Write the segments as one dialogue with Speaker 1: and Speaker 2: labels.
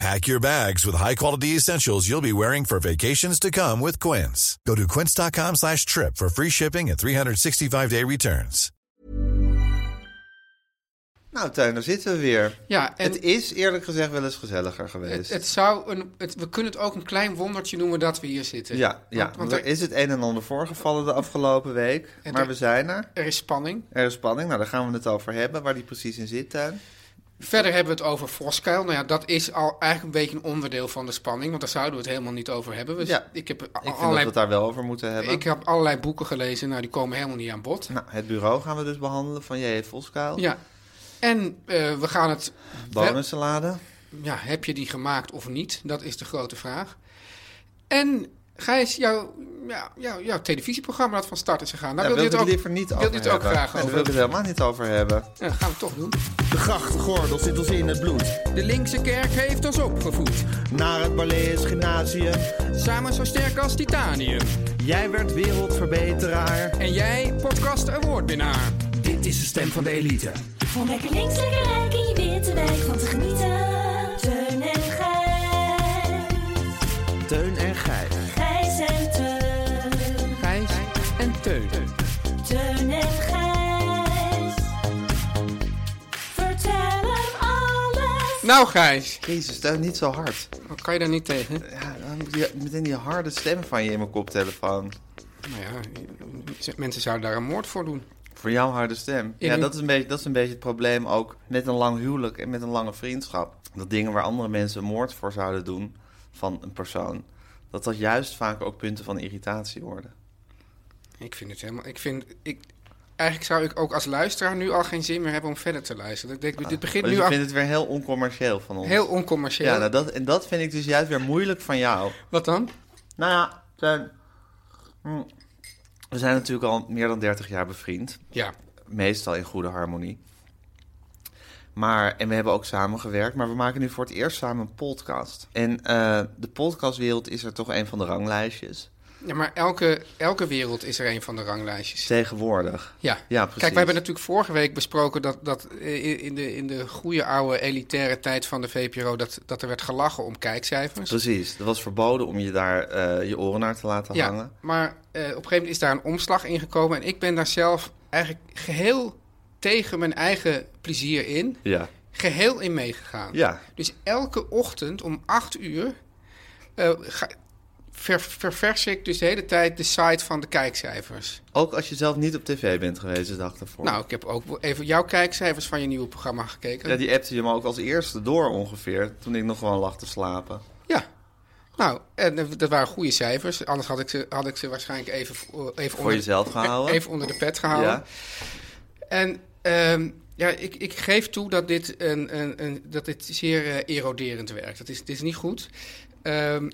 Speaker 1: Pack your bags with high-quality essentials you'll be wearing for vacations to come with Quince. Go to quince.com slash trip for free shipping and 365-day returns.
Speaker 2: Nou, Tuin, daar zitten we weer.
Speaker 3: Ja, en-
Speaker 2: Het is eerlijk gezegd wel eens gezelliger
Speaker 3: Het,
Speaker 2: geweest.
Speaker 3: het zou een, het, we kunnen het ook een klein wondertje noemen dat we hier zitten.
Speaker 2: ja, ja,
Speaker 3: Want, want
Speaker 2: er
Speaker 3: er,
Speaker 2: is het een en ander voorgevallen de afgelopen week.
Speaker 3: En
Speaker 2: maar
Speaker 3: er-
Speaker 2: we zijn er.
Speaker 3: er is spanning.
Speaker 2: Er is spanning, nou daar gaan we het over hebben, waar die precies in zit, Tuin.
Speaker 3: Verder hebben we het over Voskuil. Nou ja, dat is al eigenlijk een beetje een onderdeel van de spanning. Want daar zouden we het helemaal niet over hebben. Dus
Speaker 2: Ja.
Speaker 3: ik, heb
Speaker 2: Ik vind dat we
Speaker 3: allerlei,
Speaker 2: het daar wel over moeten hebben.
Speaker 3: ik heb allerlei boeken gelezen. Nou, die komen helemaal niet aan bod.
Speaker 2: Nou, het bureau gaan we dus behandelen van J.F. Voskuil.
Speaker 3: Ja. En eh, we gaan het...
Speaker 2: Bonensalade.
Speaker 3: Ja, heb je die gemaakt of niet? Dat is de grote vraag. En Gijs, jouw, ja, jouw, jouw televisieprogramma dat van start is gegaan. Daar
Speaker 2: Daar wil
Speaker 3: wil
Speaker 2: ik
Speaker 3: je het
Speaker 2: het
Speaker 3: ook,
Speaker 2: liever niet
Speaker 3: wil
Speaker 2: over
Speaker 3: je het ook
Speaker 2: hebben.
Speaker 3: graag
Speaker 2: En daar
Speaker 3: over.
Speaker 2: wil ik het helemaal niet over hebben.
Speaker 3: Ja, dat gaan we toch doen.
Speaker 4: De grachtgordel zit ons in het bloed.
Speaker 3: De linkse kerk heeft ons opgevoed.
Speaker 4: Naar het Balees Gymnasium.
Speaker 3: Samen zo sterk als titanium.
Speaker 4: Jij werd wereldverbeteraar.
Speaker 3: En jij, podcast awardwinnaar.
Speaker 4: Dit is de stem van de elite.
Speaker 5: Om lekker links, lekker rijk in je witte wijk van te genieten. Teun en Gijs.
Speaker 4: Teun en Gijs.
Speaker 5: Gijs en Teun.
Speaker 3: Gijs en Teun.
Speaker 5: Teun en Gijs. Vertel hem alles.
Speaker 3: Nou Gijs,
Speaker 2: Jezus, Tuin, niet zo hard.
Speaker 3: wat kan je daar niet tegen?
Speaker 2: Ja, dan moet je- meteen die harde stem van je in mijn koptelefoon.
Speaker 3: Nou ja, mensen zouden daar een moord voor doen.
Speaker 2: Voor jouw harde stem.
Speaker 3: In
Speaker 2: Ja,
Speaker 3: een-
Speaker 2: dat is, een beetje, dat is een beetje het probleem ook met een lang huwelijk en met een lange vriendschap. Dat dingen waar andere mensen een moord voor zouden doen van een persoon, dat dat juist vaak ook punten van irritatie worden.
Speaker 3: Ik vind het helemaal... Ik vind, ik, eigenlijk zou ik ook als luisteraar nu al geen zin meer hebben om verder te luisteren. Ik denk, dit begint
Speaker 2: Dus
Speaker 3: nu
Speaker 2: ik
Speaker 3: al
Speaker 2: vind het weer heel oncommercieel van ons.
Speaker 3: heel oncommercieel.
Speaker 2: Ja, nou, dat, en dat vind ik dus juist weer moeilijk van jou.
Speaker 3: Wat dan?
Speaker 2: Nou ja, Teun, hm, we zijn natuurlijk al meer dan 30 jaar bevriend.
Speaker 3: Ja.
Speaker 2: meestal in goede harmonie. Maar, en we hebben ook samengewerkt, maar we maken nu voor het eerst samen een podcast. En eh, de podcastwereld is er toch een van de ranglijstjes
Speaker 3: Ja, maar elke, elke wereld is er een van de ranglijstjes.
Speaker 2: tegenwoordig.
Speaker 3: Ja,
Speaker 2: Ja, precies.
Speaker 3: Kijk, we hebben natuurlijk vorige week besproken dat, dat eh, in, de, in de goede oude elitaire tijd van de VPRO... dat, dat er werd gelachen om kijkcijfers.
Speaker 2: Precies, het was verboden om je daar eh, je oren naar te laten
Speaker 3: ja,
Speaker 2: hangen.
Speaker 3: maar eh, op een gegeven moment is daar een omslag in gekomen... en ik ben daar zelf eigenlijk geheel tegen mijn eigen plezier in...
Speaker 2: Ja.
Speaker 3: geheel in meegegaan.
Speaker 2: Ja.
Speaker 3: Dus elke ochtend om 8 uur eh, ga, ver- ververs ik dus de hele tijd de site van de kijkcijfers.
Speaker 2: Ook als je zelf niet op tv bent geweest de dag ervoor.
Speaker 3: Nou, ik heb ook even jouw kijkcijfers van je nieuwe programma gekeken.
Speaker 2: Ja, die appte je me ook als eerste door ongeveer, toen ik nog gewoon lag te slapen.
Speaker 3: Ja. Nou, en eh, dat waren goede cijfers. Anders had ik ze, had ik ze waarschijnlijk even, vo- even, onder,
Speaker 2: jezelf gehouden?
Speaker 3: e- even onder de pet gehouden.
Speaker 2: Ja.
Speaker 3: En ehm, ja, ik, ik geef toe dat dit, een, een, een, dat dit zeer eh, eroderend werkt. Dat is, het is niet goed. Ehm,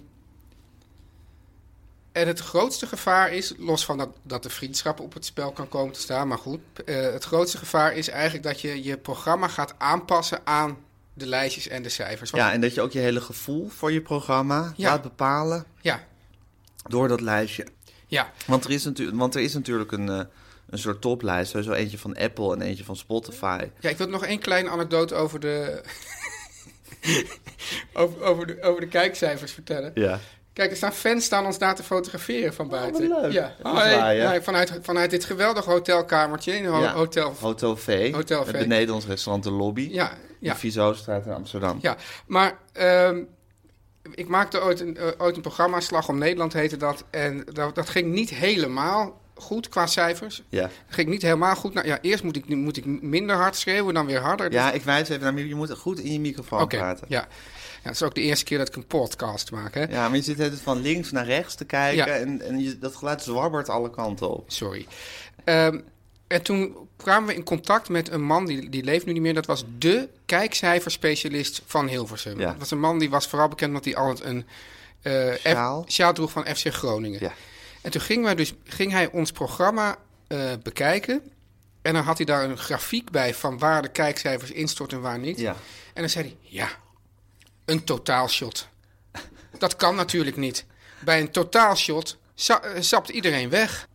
Speaker 3: en het grootste gevaar is, los van dat, dat de vriendschap op het spel kan komen te staan, maar goed. eh, het grootste gevaar is eigenlijk dat je je programma gaat aanpassen aan de lijstjes en de cijfers. Want-
Speaker 2: Ja, en dat je ook je hele gevoel voor je programma
Speaker 3: Ja.
Speaker 2: laat bepalen
Speaker 3: ja,
Speaker 2: door dat lijstje.
Speaker 3: ja.
Speaker 2: Want er is, natuurlijk, want er is natuurlijk een, eh, een soort toplijst. Sowieso eentje van Apple en eentje van Spotify.
Speaker 3: Ja, ik wil nog één kleine anekdote over de. over, over, de, over de kijkcijfers vertellen.
Speaker 2: Ja.
Speaker 3: Kijk, er staan fans staan ons daar te fotograferen van buiten.
Speaker 2: Oh, wat leuk.
Speaker 3: Ja.
Speaker 2: Dat is
Speaker 3: Hoi.
Speaker 2: waar, ja.
Speaker 3: Nee, vanuit, vanuit dit geweldige hotelkamertje in een ho-
Speaker 2: Ja.
Speaker 3: hotel.
Speaker 2: Hotel V.
Speaker 3: Hotel V.
Speaker 2: Met Beneden ons restaurant De Lobby.
Speaker 3: ja, ja.
Speaker 2: De Vizostraat in Amsterdam.
Speaker 3: Ja, maar ehm, ik maakte ooit een, eh, ooit een programma, Slag om Nederland heette dat. En dat, dat ging niet helemaal goed qua cijfers.
Speaker 2: Ja.
Speaker 3: Ging ik niet helemaal goed. Nou, ja, eerst moet ik, moet ik minder hard schreeuwen, dan weer harder. Dus-
Speaker 2: ja, ik wijs even naar je. Je moet goed in je microfoon
Speaker 3: Oké,
Speaker 2: praten.
Speaker 3: ja. ja. Het is ook de eerste keer dat ik een podcast maak, hè?
Speaker 2: Ja, maar je zit de hele tijd van links naar rechts te kijken
Speaker 3: Ja.
Speaker 2: en, en je, dat geluid zwabbert alle kanten op.
Speaker 3: Sorry. Ehm, en toen kwamen we in contact met een man, die, die leeft nu niet meer. Dat was de kijkcijferspecialist van Hilversum.
Speaker 2: Ja.
Speaker 3: Dat was een man die was vooral bekend omdat hij altijd een eh, F-
Speaker 2: Sjaal.
Speaker 3: sjaal droeg van FC Groningen.
Speaker 2: Ja.
Speaker 3: En toen ging, wij dus, ging hij ons programma eh, bekijken. En dan had hij daar een grafiek bij van waar de kijkcijfers instorten en waar niet.
Speaker 2: Ja.
Speaker 3: En dan zei hij, ja, een totaalshot. Dat kan natuurlijk niet. Bij een totaalshot za- eh, zapt iedereen weg.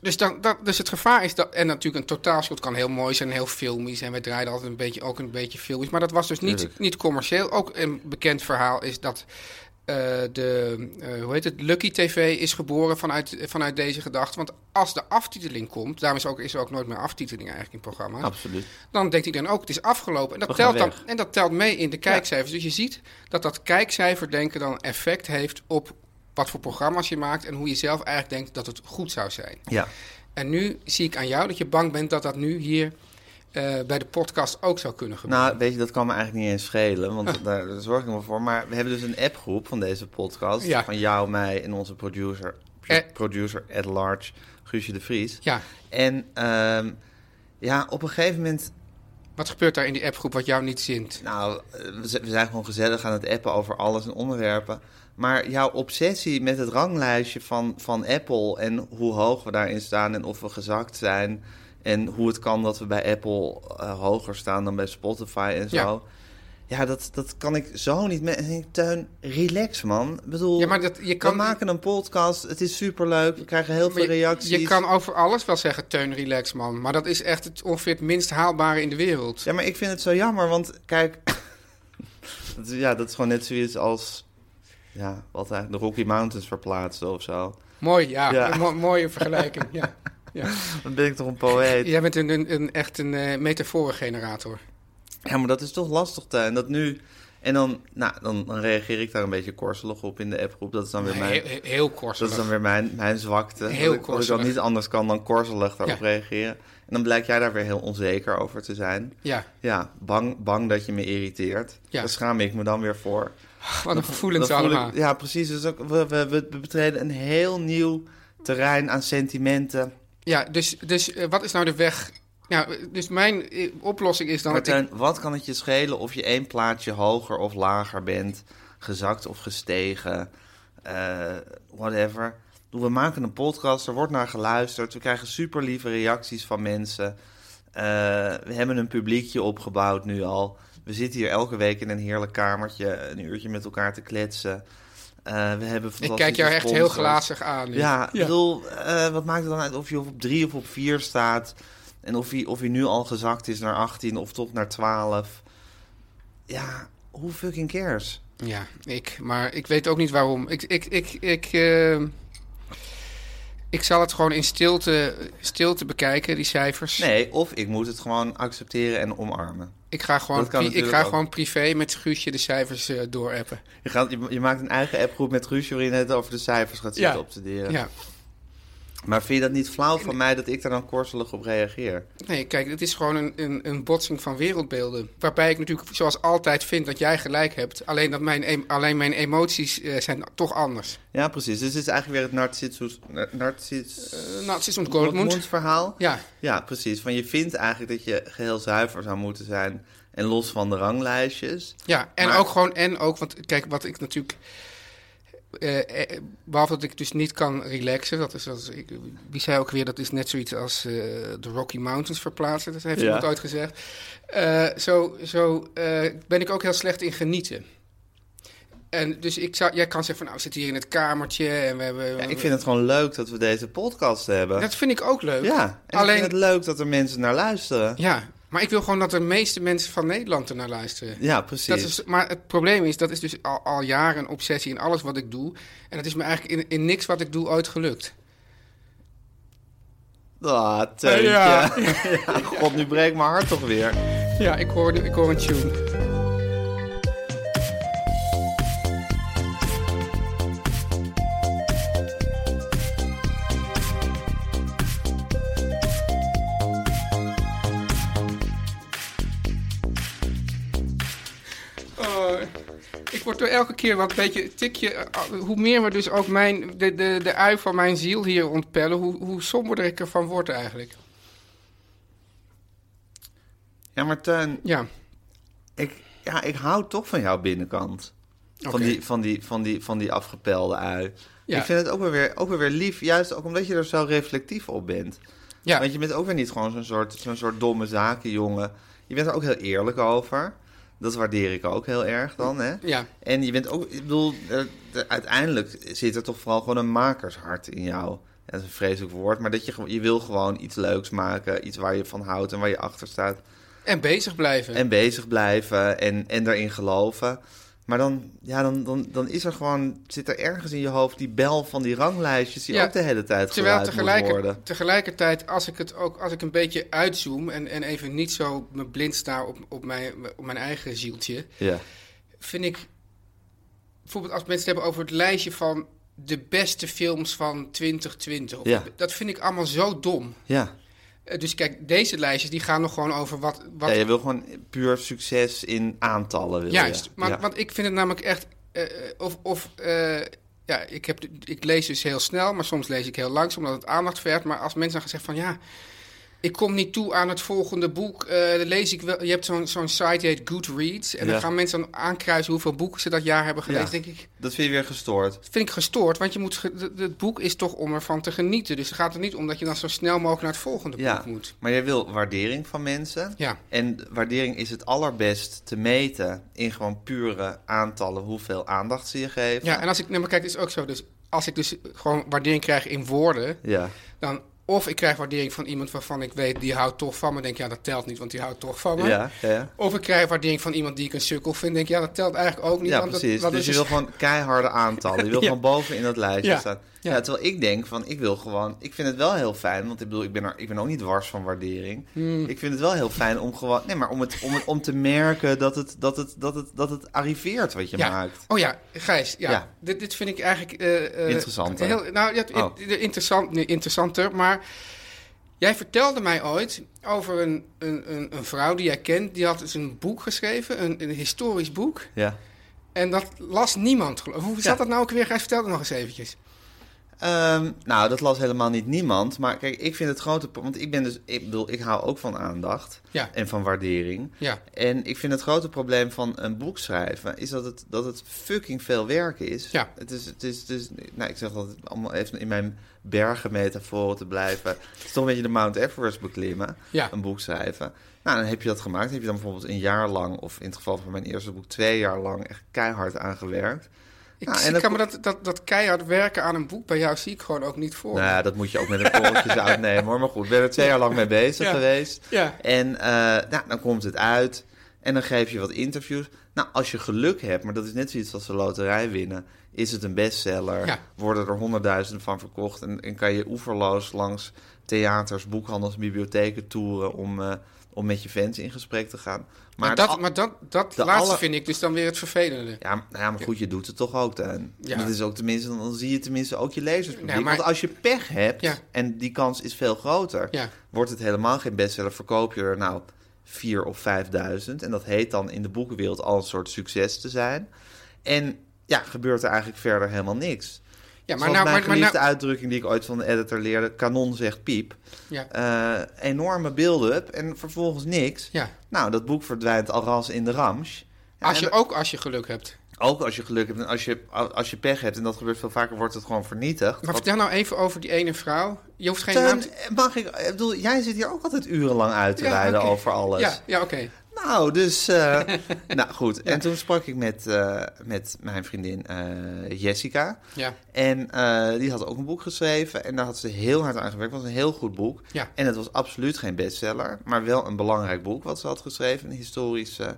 Speaker 3: Dus, dan, dat, dus het gevaar is dat... En natuurlijk, een totaalshot kan heel mooi zijn, en heel filmisch. En wij draaiden altijd een beetje, ook een beetje filmisch. Maar dat was dus niet, niet commercieel. Ook een bekend verhaal is dat... eh, de, eh, hoe heet het? Lucky TV is geboren vanuit, vanuit deze gedachte. Want als de aftiteling komt, daarom is, ook, is er ook nooit meer aftiteling eigenlijk in programma's
Speaker 2: Absoluut.
Speaker 3: dan denkt iedereen ook, het is afgelopen. En
Speaker 2: We
Speaker 3: dat,
Speaker 2: gaan
Speaker 3: telt dan,
Speaker 2: weg.
Speaker 3: en dat telt mee in de kijkcijfers. Dus je ziet dat dat kijkcijferdenken dan effect heeft op wat voor programma's je maakt... en hoe je zelf eigenlijk denkt dat het goed zou zijn.
Speaker 2: Ja.
Speaker 3: En nu zie ik aan jou dat je bang bent dat dat nu hier eh, bij de podcast ook zou kunnen gebeuren.
Speaker 2: Nou, weet je, dat kan me eigenlijk niet eens schelen, want daar, daar zorg ik me voor. Maar we hebben dus een appgroep van deze podcast,
Speaker 3: Ja.
Speaker 2: van jou, mij en onze producer,
Speaker 3: Eh.
Speaker 2: producer at large, Guusje de Vries.
Speaker 3: Ja,
Speaker 2: En ehm, ja, op een gegeven moment
Speaker 3: wat gebeurt daar in die appgroep wat jou niet zint?
Speaker 2: Nou, eh, we z- we zijn gewoon gezellig aan het appen over alles en onderwerpen. Maar jouw obsessie met het ranglijstje van, van Apple en hoe hoog we daarin staan en of we gezakt zijn. En hoe het kan dat we bij Apple eh, hoger staan dan bij Spotify en zo. Ja, dat, dat kan ik zo niet mee. En ik denk, Teun, relax man. Ik bedoel,
Speaker 3: Ja, maar dat- je kan-
Speaker 2: we maken een podcast. Het is superleuk. We krijgen heel veel
Speaker 3: Maar je-
Speaker 2: reacties.
Speaker 3: Je, kan over alles wel zeggen, Teun, relax man. Maar dat is echt het, ongeveer het minst haalbare in de wereld.
Speaker 2: Ja, maar ik vind het zo jammer, want kijk... dat is- ja, dat is gewoon net zoiets als... Ja, wat eigenlijk, de Rocky Mountains verplaatsen of zo.
Speaker 3: Mooi, ja.
Speaker 2: Ja.
Speaker 3: Een mo- mooie vergelijking, ja. ja.
Speaker 2: Dan ben ik toch een poëet. Ja,
Speaker 3: Jij bent een, een, een- echt een eh metaforengenerator.
Speaker 2: maar dat is toch lastig, En dat nu... En dan, nou, dan, dan reageer ik daar een beetje korselig op in de appgroep. Dat is dan weer mijn,
Speaker 3: Heel, heel- heel
Speaker 2: dat
Speaker 3: korselig.
Speaker 2: is dan weer mijn, mijn zwakte.
Speaker 3: Heel
Speaker 2: dat, ik, dat ik dan
Speaker 3: korselig.
Speaker 2: niet anders kan dan korselig daarop
Speaker 3: Ja.
Speaker 2: reageren. En dan blijkt jij daar weer heel onzeker over te zijn.
Speaker 3: Ja,
Speaker 2: Ja, bang, bang dat je me irriteert.
Speaker 3: Ja.
Speaker 2: Daar schaam ik me dan weer voor.
Speaker 3: wat een gevoelens
Speaker 2: Dat voel ik-
Speaker 3: allemaal.
Speaker 2: ja, precies. Dus ook, we, we, we betreden een heel nieuw terrein aan sentimenten.
Speaker 3: Ja, dus, dus eh, wat is nou de weg? Nou, dus mijn eh, oplossing is dan...
Speaker 2: Maar
Speaker 3: dat ik-
Speaker 2: Teun, wat kan het je schelen of je één plaatsje hoger of lager bent? Gezakt of gestegen? eh, whatever. We maken een podcast, er wordt naar geluisterd. We krijgen super lieve reacties van mensen. Eh, we hebben een publiekje opgebouwd nu al. We zitten hier elke week in een heerlijk kamertje, een uurtje met elkaar te kletsen. Eh, we hebben
Speaker 3: ik, kijk jou echt heel
Speaker 2: glazen.
Speaker 3: glazig aan. nu.
Speaker 2: Ja, ik bedoel, eh, wat maakt het dan uit of je op 3 of op 4 staat? En of hij, of hij nu al gezakt is naar 18 of tot naar 12? Ja, who fucking cares?
Speaker 3: Ja, ik. Maar ik weet ook niet waarom. Ik, ik, ik, ik, eh, ik zal het gewoon in stilte, stilte bekijken, die cijfers.
Speaker 2: Nee, of ik moet het gewoon accepteren en omarmen.
Speaker 3: Ik ga, gewoon,
Speaker 2: Dat kan
Speaker 3: pri- ik
Speaker 2: natuurlijk
Speaker 3: ga
Speaker 2: ook.
Speaker 3: gewoon privé met Guusje de cijfers eh, doorappen.
Speaker 2: Je, gaat, je, je maakt een eigen appgroep met Guusje waarin je het over de cijfers gaat zitten
Speaker 3: Ja.
Speaker 2: obstuderen.
Speaker 3: ja.
Speaker 2: Maar vind je dat niet flauw van mij dat ik daar dan korselig op reageer?
Speaker 3: Nee, kijk, het is gewoon een, een, een botsing van wereldbeelden. Waarbij ik natuurlijk zoals altijd vind dat jij gelijk hebt. Alleen, dat mijn, em- alleen mijn emoties eh, zijn toch anders.
Speaker 2: Ja, precies. Dus het is eigenlijk weer het eh, narcissus... nar- Narcis...
Speaker 3: Uh, nou, het is
Speaker 2: Dortmund verhaal.
Speaker 3: Ja.
Speaker 2: Ja, precies. Van je vindt eigenlijk dat je geheel zuiver zou moeten zijn en los van de ranglijstjes.
Speaker 3: Ja, en
Speaker 2: Maar-
Speaker 3: ook gewoon, en ook, want kijk, wat ik natuurlijk. eh, eh, behalve dat ik dus niet kan relaxen, dat is, dat is ik, wie zei ook weer, dat is net zoiets als eh, de Rocky Mountains verplaatsen, dat heeft
Speaker 2: Ja.
Speaker 3: iemand ooit gezegd. Eh, zo zo eh, ben ik ook heel slecht in genieten. En dus ik zou, jij kan zeggen van, nou, we zitten hier in het kamertje en we hebben...
Speaker 2: Ja, ik vind het gewoon leuk dat we deze podcast hebben.
Speaker 3: Dat vind ik ook leuk.
Speaker 2: ja, en
Speaker 3: Alleen-
Speaker 2: ik vind het leuk dat er mensen naar luisteren. Ja,
Speaker 3: Ja, maar ik wil gewoon dat de meeste mensen van Nederland ernaar luisteren.
Speaker 2: precies.
Speaker 3: Dat is, maar het probleem is, dat is dus al, al jaren een obsessie in alles wat ik doe. En dat is me eigenlijk in, in niks wat ik doe ooit gelukt.
Speaker 2: Ah, Teuntje.
Speaker 3: Ja.
Speaker 2: Ja. god, nu breekt mijn hart toch weer.
Speaker 3: Ja, ik hoor, ik hoor een tune. Oh, ik word er elke keer wat een beetje een tikje. eh, Hoe meer we dus ook mijn, de, de, de ui van mijn ziel hier ontpellen, hoe, hoe somberder ik ervan word eigenlijk.
Speaker 2: Ja, maar Teun,
Speaker 3: Ja,
Speaker 2: ik, ja, ik hou toch van jouw binnenkant. Van,
Speaker 3: Oké.
Speaker 2: die, van, die, van, die, van die afgepelde ui.
Speaker 3: Ja.
Speaker 2: Ik vind het ook wel, weer, ook wel weer lief, juist ook omdat je er zo reflectief op bent.
Speaker 3: ja.
Speaker 2: Want je bent ook weer niet gewoon zo'n soort, zo'n soort domme zakenjongen. Je bent er ook heel eerlijk over. Dat waardeer ik ook heel erg dan, hè?
Speaker 3: Ja.
Speaker 2: En je bent ook, ik bedoel, er- er- uiteindelijk zit er toch vooral gewoon een makershart in jou. Dat is een vreselijk woord, maar dat je, gewoon- je wil gewoon iets leuks maken. Iets waar je van houdt en waar je achter staat.
Speaker 3: En bezig blijven.
Speaker 2: En bezig blijven en, en daarin geloven. Maar dan, ja, dan, dan, dan is er gewoon, zit er ergens in je hoofd die bel van die ranglijstjes die
Speaker 3: Ja.
Speaker 2: ook de hele tijd
Speaker 3: Terwijl
Speaker 2: geluid moet
Speaker 3: tegelijkertijd,
Speaker 2: worden.
Speaker 3: tegelijkertijd, als ik het ook, als ik een beetje uitzoom en, en even niet zo me blind sta op, op, mijn, op mijn eigen zieltje,
Speaker 2: Ja.
Speaker 3: vind ik bijvoorbeeld als mensen het hebben over het lijstje van de beste films van 2020. of-
Speaker 2: Ja.
Speaker 3: Dat vind ik allemaal zo dom.
Speaker 2: ja.
Speaker 3: Eh, Dus kijk, deze lijstjes die gaan nog gewoon over wat. wat
Speaker 2: Ja, je wil gewoon puur succes in aantallen. Wil je.
Speaker 3: Juist, maar,
Speaker 2: Ja.
Speaker 3: want ik vind het namelijk echt. eh, eh, of of eh, ja, ik, heb, de- ik lees dus heel snel, maar soms lees ik heel langzaam omdat het aandacht vergt. Maar als mensen dan gaan zeggen van ja, ik kom niet toe aan het volgende boek, eh, dan lees ik wel. Je hebt zo'n zo'n site die heet Goodreads. En
Speaker 2: Ja.
Speaker 3: dan gaan mensen dan aankruisen hoeveel boeken ze dat jaar hebben gelezen.
Speaker 2: Ja.
Speaker 3: Denk ik,
Speaker 2: Dat vind je weer gestoord.
Speaker 3: dat vind ik gestoord, want je moet ge- d- d- het boek is toch om ervan te genieten. Dus het gaat er niet om dat je dan zo snel mogelijk naar het volgende
Speaker 2: Ja,
Speaker 3: boek moet.
Speaker 2: maar jij wil waardering van mensen.
Speaker 3: Ja.
Speaker 2: En waardering is het allerbest te meten in gewoon pure aantallen hoeveel aandacht ze je geven.
Speaker 3: Ja, en als ik naar me kijk, is het ook zo. Dus als ik dus gewoon waardering krijg in woorden,
Speaker 2: ja.
Speaker 3: dan of ik krijg waardering van iemand waarvan ik weet die houdt toch van me. Denk ja, dat telt niet, want die houdt toch van me.
Speaker 2: Ja, ja.
Speaker 3: Of ik krijg waardering van iemand die ik een sukkel vind. Denk ja, dat telt eigenlijk ook niet.
Speaker 2: Ja,
Speaker 3: want dat-
Speaker 2: precies.
Speaker 3: want
Speaker 2: dus
Speaker 3: het
Speaker 2: je
Speaker 3: is-
Speaker 2: wil gewoon keiharde aantallen. Je wil
Speaker 3: Ja.
Speaker 2: gewoon boven in dat lijstje
Speaker 3: Ja.
Speaker 2: staan. Ja.
Speaker 3: Ja.
Speaker 2: terwijl ik denk van, ik wil gewoon... Ik vind het wel heel fijn, want ik bedoel, ik ben, er, ik ben ook niet wars van waardering.
Speaker 3: Hmm.
Speaker 2: Ik vind het wel heel fijn om gewoon... Nee, maar om, het, om, het, om te merken dat het, dat, het, dat, het, dat het arriveert wat je
Speaker 3: ja.
Speaker 2: maakt.
Speaker 3: Oh ja, Gijs, ja.
Speaker 2: Ja.
Speaker 3: Dit, dit vind ik eigenlijk... eh, eh,
Speaker 2: Interessanter.
Speaker 3: Heel, nou, ja,
Speaker 2: Oh.
Speaker 3: in- interessant, nee, interessanter, maar... Jij vertelde mij ooit over een, een, een, een vrouw die jij kent. Die had dus een boek geschreven, een, een historisch boek.
Speaker 2: Ja.
Speaker 3: En dat las niemand, geloof ik. Hoe zat
Speaker 2: Ja.
Speaker 3: dat nou ook weer? Gijs, vertel dat nog eens eventjes.
Speaker 2: Ehm, nou, dat las helemaal niet niemand. Maar kijk, ik vind het grote... pro- Want ik ben dus... Ik bedoel, ik hou ook van aandacht.
Speaker 3: Ja.
Speaker 2: En van waardering.
Speaker 3: Ja.
Speaker 2: En ik vind het grote probleem van een boek schrijven... is dat het, dat het fucking veel werk is.
Speaker 3: Ja.
Speaker 2: Het is, het is, het is... Nou, ik zeg altijd allemaal even in mijn bergenmetaforen te blijven. Het is toch een beetje de Mount Everest beklimmen.
Speaker 3: Ja.
Speaker 2: Een boek schrijven. Nou, dan heb je dat gemaakt. Dan heb je dan bijvoorbeeld een jaar lang... of in het geval van mijn eerste boek twee jaar lang... echt keihard aan gewerkt.
Speaker 3: Ik
Speaker 2: Nou, en
Speaker 3: zie,
Speaker 2: dan
Speaker 3: kan me
Speaker 2: ko-
Speaker 3: dat, dat, dat keihard werken aan een boek bij jou zie ik gewoon ook niet voor.
Speaker 2: Nou ja, dat moet je ook met een korreltje zout nemen hoor. Maar goed, ik ben er twee jaar lang mee bezig
Speaker 3: Ja.
Speaker 2: geweest.
Speaker 3: Ja.
Speaker 2: En eh, nou, dan komt het uit. En dan geef je wat interviews. Nou, als je geluk hebt, maar dat is net zoiets als de loterij winnen. Is het een bestseller?
Speaker 3: Ja.
Speaker 2: Worden er honderdduizenden van verkocht? En, en kan je oeverloos langs theaters, boekhandels, bibliotheken toeren om, eh, om met je fans in gesprek te gaan?
Speaker 3: maar,
Speaker 2: het
Speaker 3: dat,
Speaker 2: al-
Speaker 3: maar dat, dat
Speaker 2: de
Speaker 3: laatste
Speaker 2: alle-
Speaker 3: vind ik dus dan weer het vervelende.
Speaker 2: ja, maar- nou ja, maar goed, je doet het toch ook dan.
Speaker 3: Ja.
Speaker 2: Dat is ook tenminste, dan zie je tenminste ook je lezerspubliek.
Speaker 3: Nee, maar-
Speaker 2: Want als je pech hebt,
Speaker 3: Ja.
Speaker 2: en die kans is veel groter,
Speaker 3: Ja.
Speaker 2: wordt het helemaal geen bestseller. Verkoop je er nou vier of vijfduizend. En dat heet dan in de boekenwereld al een soort succes te zijn. En ja, gebeurt er eigenlijk verder helemaal niks. Maar
Speaker 3: Ja, maar nou,
Speaker 2: mijn
Speaker 3: maar, maar
Speaker 2: geliefde
Speaker 3: nou,
Speaker 2: uitdrukking die ik ooit van de editor leerde, kanon zegt piep.
Speaker 3: ja,
Speaker 2: Eh, enorme build-up en vervolgens niks.
Speaker 3: Ja.
Speaker 2: Nou, dat boek verdwijnt al ras in de rams. Ja,
Speaker 3: als
Speaker 2: en
Speaker 3: je, ook als je geluk hebt.
Speaker 2: ook als je geluk hebt en als je, als je pech hebt, en dat gebeurt veel vaker, wordt het gewoon vernietigd.
Speaker 3: Maar
Speaker 2: Want-
Speaker 3: vertel nou even over die ene vrouw. Je hoeft geen
Speaker 2: Teun,
Speaker 3: naam te...
Speaker 2: mag ik, ik bedoel, jij zit hier ook altijd urenlang uit te
Speaker 3: Ja,
Speaker 2: wijden
Speaker 3: oké.
Speaker 2: over alles.
Speaker 3: Ja, ja oké.
Speaker 2: Nou, dus, eh, nou goed. En toen sprak ik met, eh, met mijn vriendin eh, Jessica.
Speaker 3: Ja.
Speaker 2: En eh, die had ook een boek geschreven en daar had ze heel hard aan gewerkt. Het was een heel goed boek.
Speaker 3: Ja.
Speaker 2: En het was absoluut geen bestseller, maar wel een belangrijk boek wat ze had geschreven. Een historisch eh,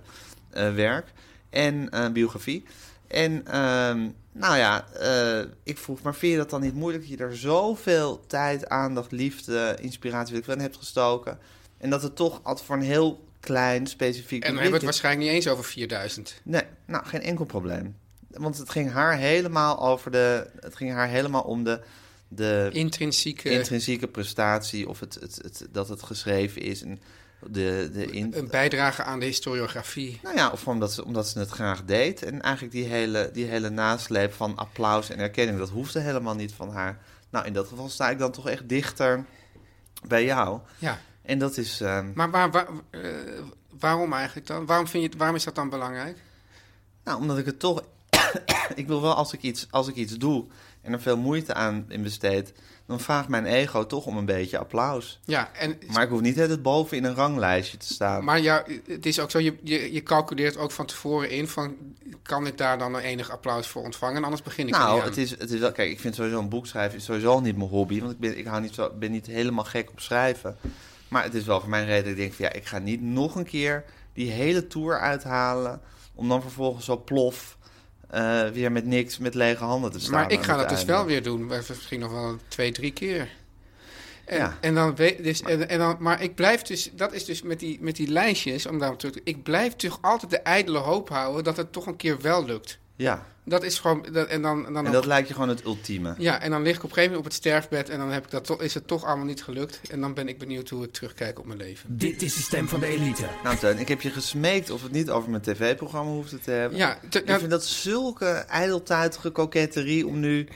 Speaker 2: eh, werk en eh, biografie. En ehm, nou ja, eh, ik vroeg, maar vind je dat dan niet moeilijk dat je er zoveel tijd, aandacht, liefde, inspiratie weet ik wel, in hebt gestoken? En dat het toch altijd voor een heel klein, specifiek
Speaker 3: En dan
Speaker 2: publiek
Speaker 3: hebben we
Speaker 2: is?
Speaker 3: het waarschijnlijk niet eens over 4000.
Speaker 2: Nee, nou, geen enkel probleem. Want het ging haar helemaal over de. Het ging haar helemaal om de. de Eh,
Speaker 3: Intrinsieke...
Speaker 2: intrinsieke prestatie of het, het, het, dat het geschreven is. En de, de in...
Speaker 3: Een bijdrage aan de historiografie.
Speaker 2: Nou ja, of omdat ze, omdat ze het graag deed. En eigenlijk die hele, die hele nasleep van applaus en erkenning, dat hoefde helemaal niet van haar. Nou, in dat geval sta ik dan toch echt dichter bij jou.
Speaker 3: Ja.
Speaker 2: En dat is. ehm,
Speaker 3: Maar waar, waar- eh, waarom eigenlijk dan? Waarom, vind je, het- waarom is dat dan belangrijk?
Speaker 2: Nou, omdat ik het toch. ik wil wel als ik, iets, als ik iets doe en er veel moeite aan in besteed, dan vraagt mijn ego toch om een beetje applaus.
Speaker 3: Ja, en, maar,
Speaker 2: Maar ik hoef niet het boven in een ranglijstje te staan.
Speaker 3: ja, het is ook zo, je, je, je calculeert ook van tevoren in van... kan ik daar dan enig applaus voor ontvangen? Anders begin ik er
Speaker 2: nou,
Speaker 3: niet aan.
Speaker 2: het is, het is wel. Kijk, ik vind sowieso een boek schrijven is sowieso niet mijn hobby. Want ik ben, ik hou niet zo, ben niet helemaal gek op schrijven. Maar het is wel voor mijn reden. dat Ik denk van ja, ik ga niet nog een keer die hele tour uithalen. Om dan vervolgens zo plof eh, weer met niks, met lege handen te staan.
Speaker 3: Maar ik
Speaker 2: aan
Speaker 3: ga
Speaker 2: het
Speaker 3: dat dus
Speaker 2: einde.
Speaker 3: wel weer doen. maar Misschien nog wel twee, drie keer. En,
Speaker 2: Ja.
Speaker 3: en dan weet, dus, en, en dan, maar ik blijf dus, dat is dus met die, met die lijstjes, om daar terug te- ik blijf toch altijd de ijdele hoop houden dat het toch een keer wel lukt.
Speaker 2: Ja,
Speaker 3: Dat is gewoon, dat, en dan, en dan
Speaker 2: en
Speaker 3: op-
Speaker 2: dat lijkt je gewoon het ultieme.
Speaker 3: ja, en dan lig ik op een gegeven moment op het sterfbed en dan heb ik dat toch- is het toch allemaal niet gelukt. En dan ben ik benieuwd hoe ik terugkijk op mijn leven.
Speaker 4: Dit is de stem van de elite.
Speaker 2: Nou, Teun, ik heb je gesmeekt of we het niet over mijn tv-programma hoefde te hebben.
Speaker 3: Ja, te-
Speaker 2: ik
Speaker 3: nou-
Speaker 2: vind dat zulke ijdeltuitige koketterie om nu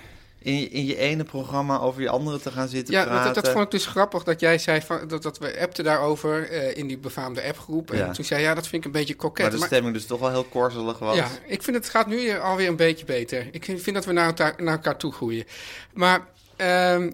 Speaker 2: in je, in je ene programma over je andere te gaan zitten
Speaker 3: Ja,
Speaker 2: praten.
Speaker 3: dat, dat vond ik dus grappig dat jij zei, van, dat, dat we appten daarover eh, in die befaamde appgroep. En
Speaker 2: Ja.
Speaker 3: toen zei ja, dat vind ik een beetje koket.
Speaker 2: Maar de
Speaker 3: maar-
Speaker 2: stemming dus toch wel heel korzelig was.
Speaker 3: Ja, ik vind het gaat nu hier alweer een beetje beter. Ik vind dat we naar elkaar, naar elkaar toe groeien. Maar ehm,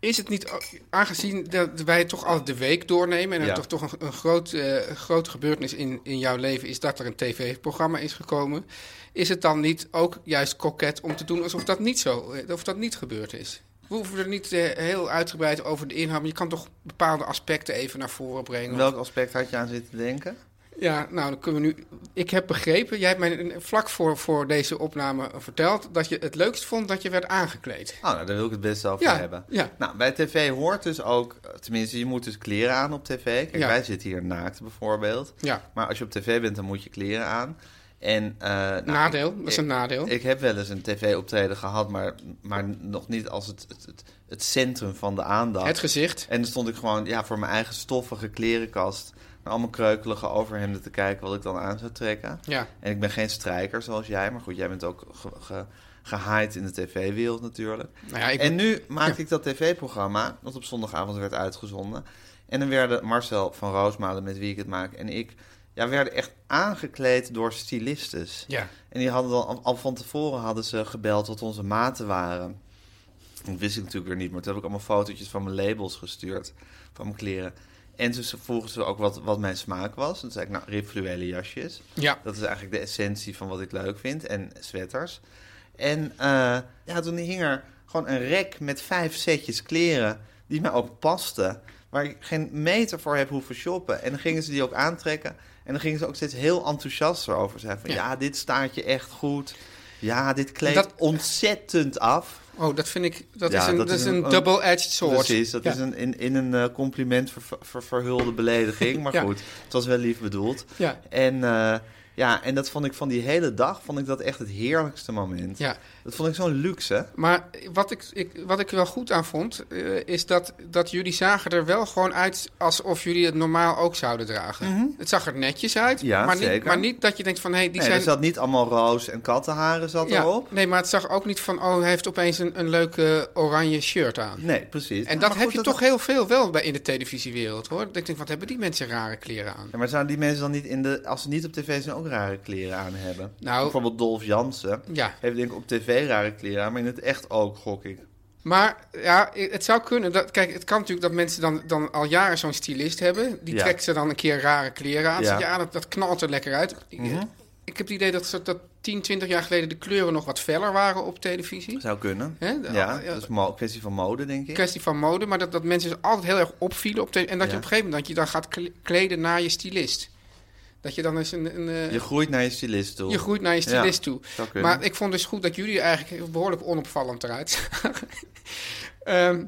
Speaker 3: is het niet, aangezien dat wij toch altijd de week doornemen... en
Speaker 2: Ja.
Speaker 3: er toch, toch een, een groot, eh, een groot gebeurtenis in, in jouw leven is dat er een tv-programma is gekomen... is het dan niet ook juist koket om te doen alsof dat niet, zo, eh, of dat niet gebeurd is? We hoeven er niet eh, heel uitgebreid over de inhoud... maar je kan toch bepaalde aspecten even naar voren brengen.
Speaker 2: In
Speaker 3: of-
Speaker 2: welk aspect had je aan zitten denken?
Speaker 3: ja, nou, dan kunnen we nu... Ik heb begrepen, jij hebt mij vlak voor, voor deze opname verteld... dat je het leukst vond dat je werd aangekleed.
Speaker 2: Oh, nou, daar wil ik het best over
Speaker 3: Ja,
Speaker 2: hebben.
Speaker 3: ja.
Speaker 2: Nou, bij tv hoort dus ook, tenminste, je moet dus kleren aan op tv. Kijk,
Speaker 3: Ja.
Speaker 2: wij zitten hier naakt bijvoorbeeld.
Speaker 3: Ja.
Speaker 2: Maar als je op tv bent, dan moet je kleren aan. En, eh, nou,
Speaker 3: nadeel,
Speaker 2: ik-
Speaker 3: dat is een nadeel.
Speaker 2: Ik heb wel eens een tv-optreden gehad, maar, maar nog niet als het, het, het, het centrum van de aandacht.
Speaker 3: het gezicht.
Speaker 2: en dan stond ik gewoon ja, voor mijn eigen stoffige klerenkast naar allemaal kreukelige overhemden te kijken wat ik dan aan zou trekken.
Speaker 3: Ja.
Speaker 2: En ik ben geen strijker zoals jij, maar goed, jij bent ook ge, ge- gehaaid in de tv-wereld natuurlijk.
Speaker 3: Nou ja, ik-
Speaker 2: en nu maakte ik dat tv-programma, dat op zondagavond werd uitgezonden. En dan werden Marcel van Roosmalen, met wie ik het maak, en ik... Ja, werden echt aangekleed door stylistes.
Speaker 3: Ja.
Speaker 2: En die hadden dan, al- al van tevoren hadden ze gebeld wat onze maten waren. Dat wist ik natuurlijk weer niet, maar toen heb ik allemaal fotootjes van mijn labels gestuurd, van mijn kleren. En toen ze- vroegen ze ook wat, wat mijn smaak was. En toen zei ik, nou, rifluwele jasjes.
Speaker 3: Ja.
Speaker 2: Dat is eigenlijk de essentie van wat ik leuk vind. En sweaters. En eh, ja, toen hing er gewoon een rek met vijf setjes kleren die mij ook pasten. Waar ik geen meter voor heb hoeven shoppen. En dan gingen ze die ook aantrekken. En dan gingen ze ook steeds heel enthousiast erover zijn. Van
Speaker 3: Ja.
Speaker 2: ja, dit staat je echt goed. Ja, dit kleedt
Speaker 3: Dat-
Speaker 2: ontzettend af.
Speaker 3: Oh, dat vind ik... Dat
Speaker 2: Ja,
Speaker 3: is een, dat is een, double-edged sword.
Speaker 2: Precies, dat
Speaker 3: Ja.
Speaker 2: is een, in, in een eh, compliment ver, ver- verhulde belediging. Maar
Speaker 3: Ja.
Speaker 2: goed, het was wel lief bedoeld.
Speaker 3: Ja.
Speaker 2: En, eh, ja, en dat vond ik van die hele dag vond ik dat echt het heerlijkste moment.
Speaker 3: Ja.
Speaker 2: Dat vond ik zo'n luxe.
Speaker 3: Maar wat ik, ik, wat ik er wel goed aan vond, eh, is dat, dat jullie zagen er wel gewoon uit alsof jullie het normaal ook zouden dragen. Het zag er netjes uit,
Speaker 2: Mhm. Ja,
Speaker 3: maar, niet,
Speaker 2: zeker.
Speaker 3: maar niet dat je denkt van... Hey, die
Speaker 2: Nee,
Speaker 3: zijn...
Speaker 2: Er zat niet allemaal roos en kattenharen zat
Speaker 3: Ja,
Speaker 2: erop.
Speaker 3: Nee, maar het zag ook niet van, oh, hij heeft opeens een, een leuke oranje shirt aan.
Speaker 2: Nee, precies.
Speaker 3: En
Speaker 2: Nou,
Speaker 3: dat
Speaker 2: maar
Speaker 3: heb
Speaker 2: goed,
Speaker 3: je toch heel veel wel bij in de televisiewereld, hoor. Dat ik denk, wat hebben die mensen rare kleren aan?
Speaker 2: Ja, maar zouden die mensen dan niet in de... Als ze niet op tv zijn, ook rare kleren aan hebben?
Speaker 3: Nou-
Speaker 2: Bijvoorbeeld Dolf Jansen.
Speaker 3: Ja.
Speaker 2: Heeft denk ik op tv rare kleren aan, maar in het echt ook, gok ik.
Speaker 3: Maar ja, het zou kunnen. Dat, kijk, het kan natuurlijk dat mensen dan, dan al jaren zo'n stylist hebben. Die
Speaker 2: Ja.
Speaker 3: trekt ze dan een keer rare kleren aan.
Speaker 2: Ja. Mhm.
Speaker 3: Ja, ja dat, dat knalt er lekker uit. Ik- Ik heb het idee dat, ze- dat 10, 20 jaar geleden de kleuren nog wat feller waren op televisie.
Speaker 2: Zou kunnen.
Speaker 3: Hè? De-
Speaker 2: ja,
Speaker 3: ja.
Speaker 2: dat is mo- kwestie van mode, denk ik.
Speaker 3: kwestie van mode, maar dat, dat mensen dus altijd heel erg opvielen. Op tele- en dat
Speaker 2: Ja.
Speaker 3: je op een gegeven moment dat je dan gaat kle- kleden naar je stylist. Dat je dan eens een... een eh,
Speaker 2: Je groeit naar je stylist toe.
Speaker 3: je groeit naar je stylist
Speaker 2: Ja,
Speaker 3: toe.
Speaker 2: zou kunnen.
Speaker 3: Maar ik vond dus goed dat jullie eigenlijk behoorlijk onopvallend eruit zagen. Ehm,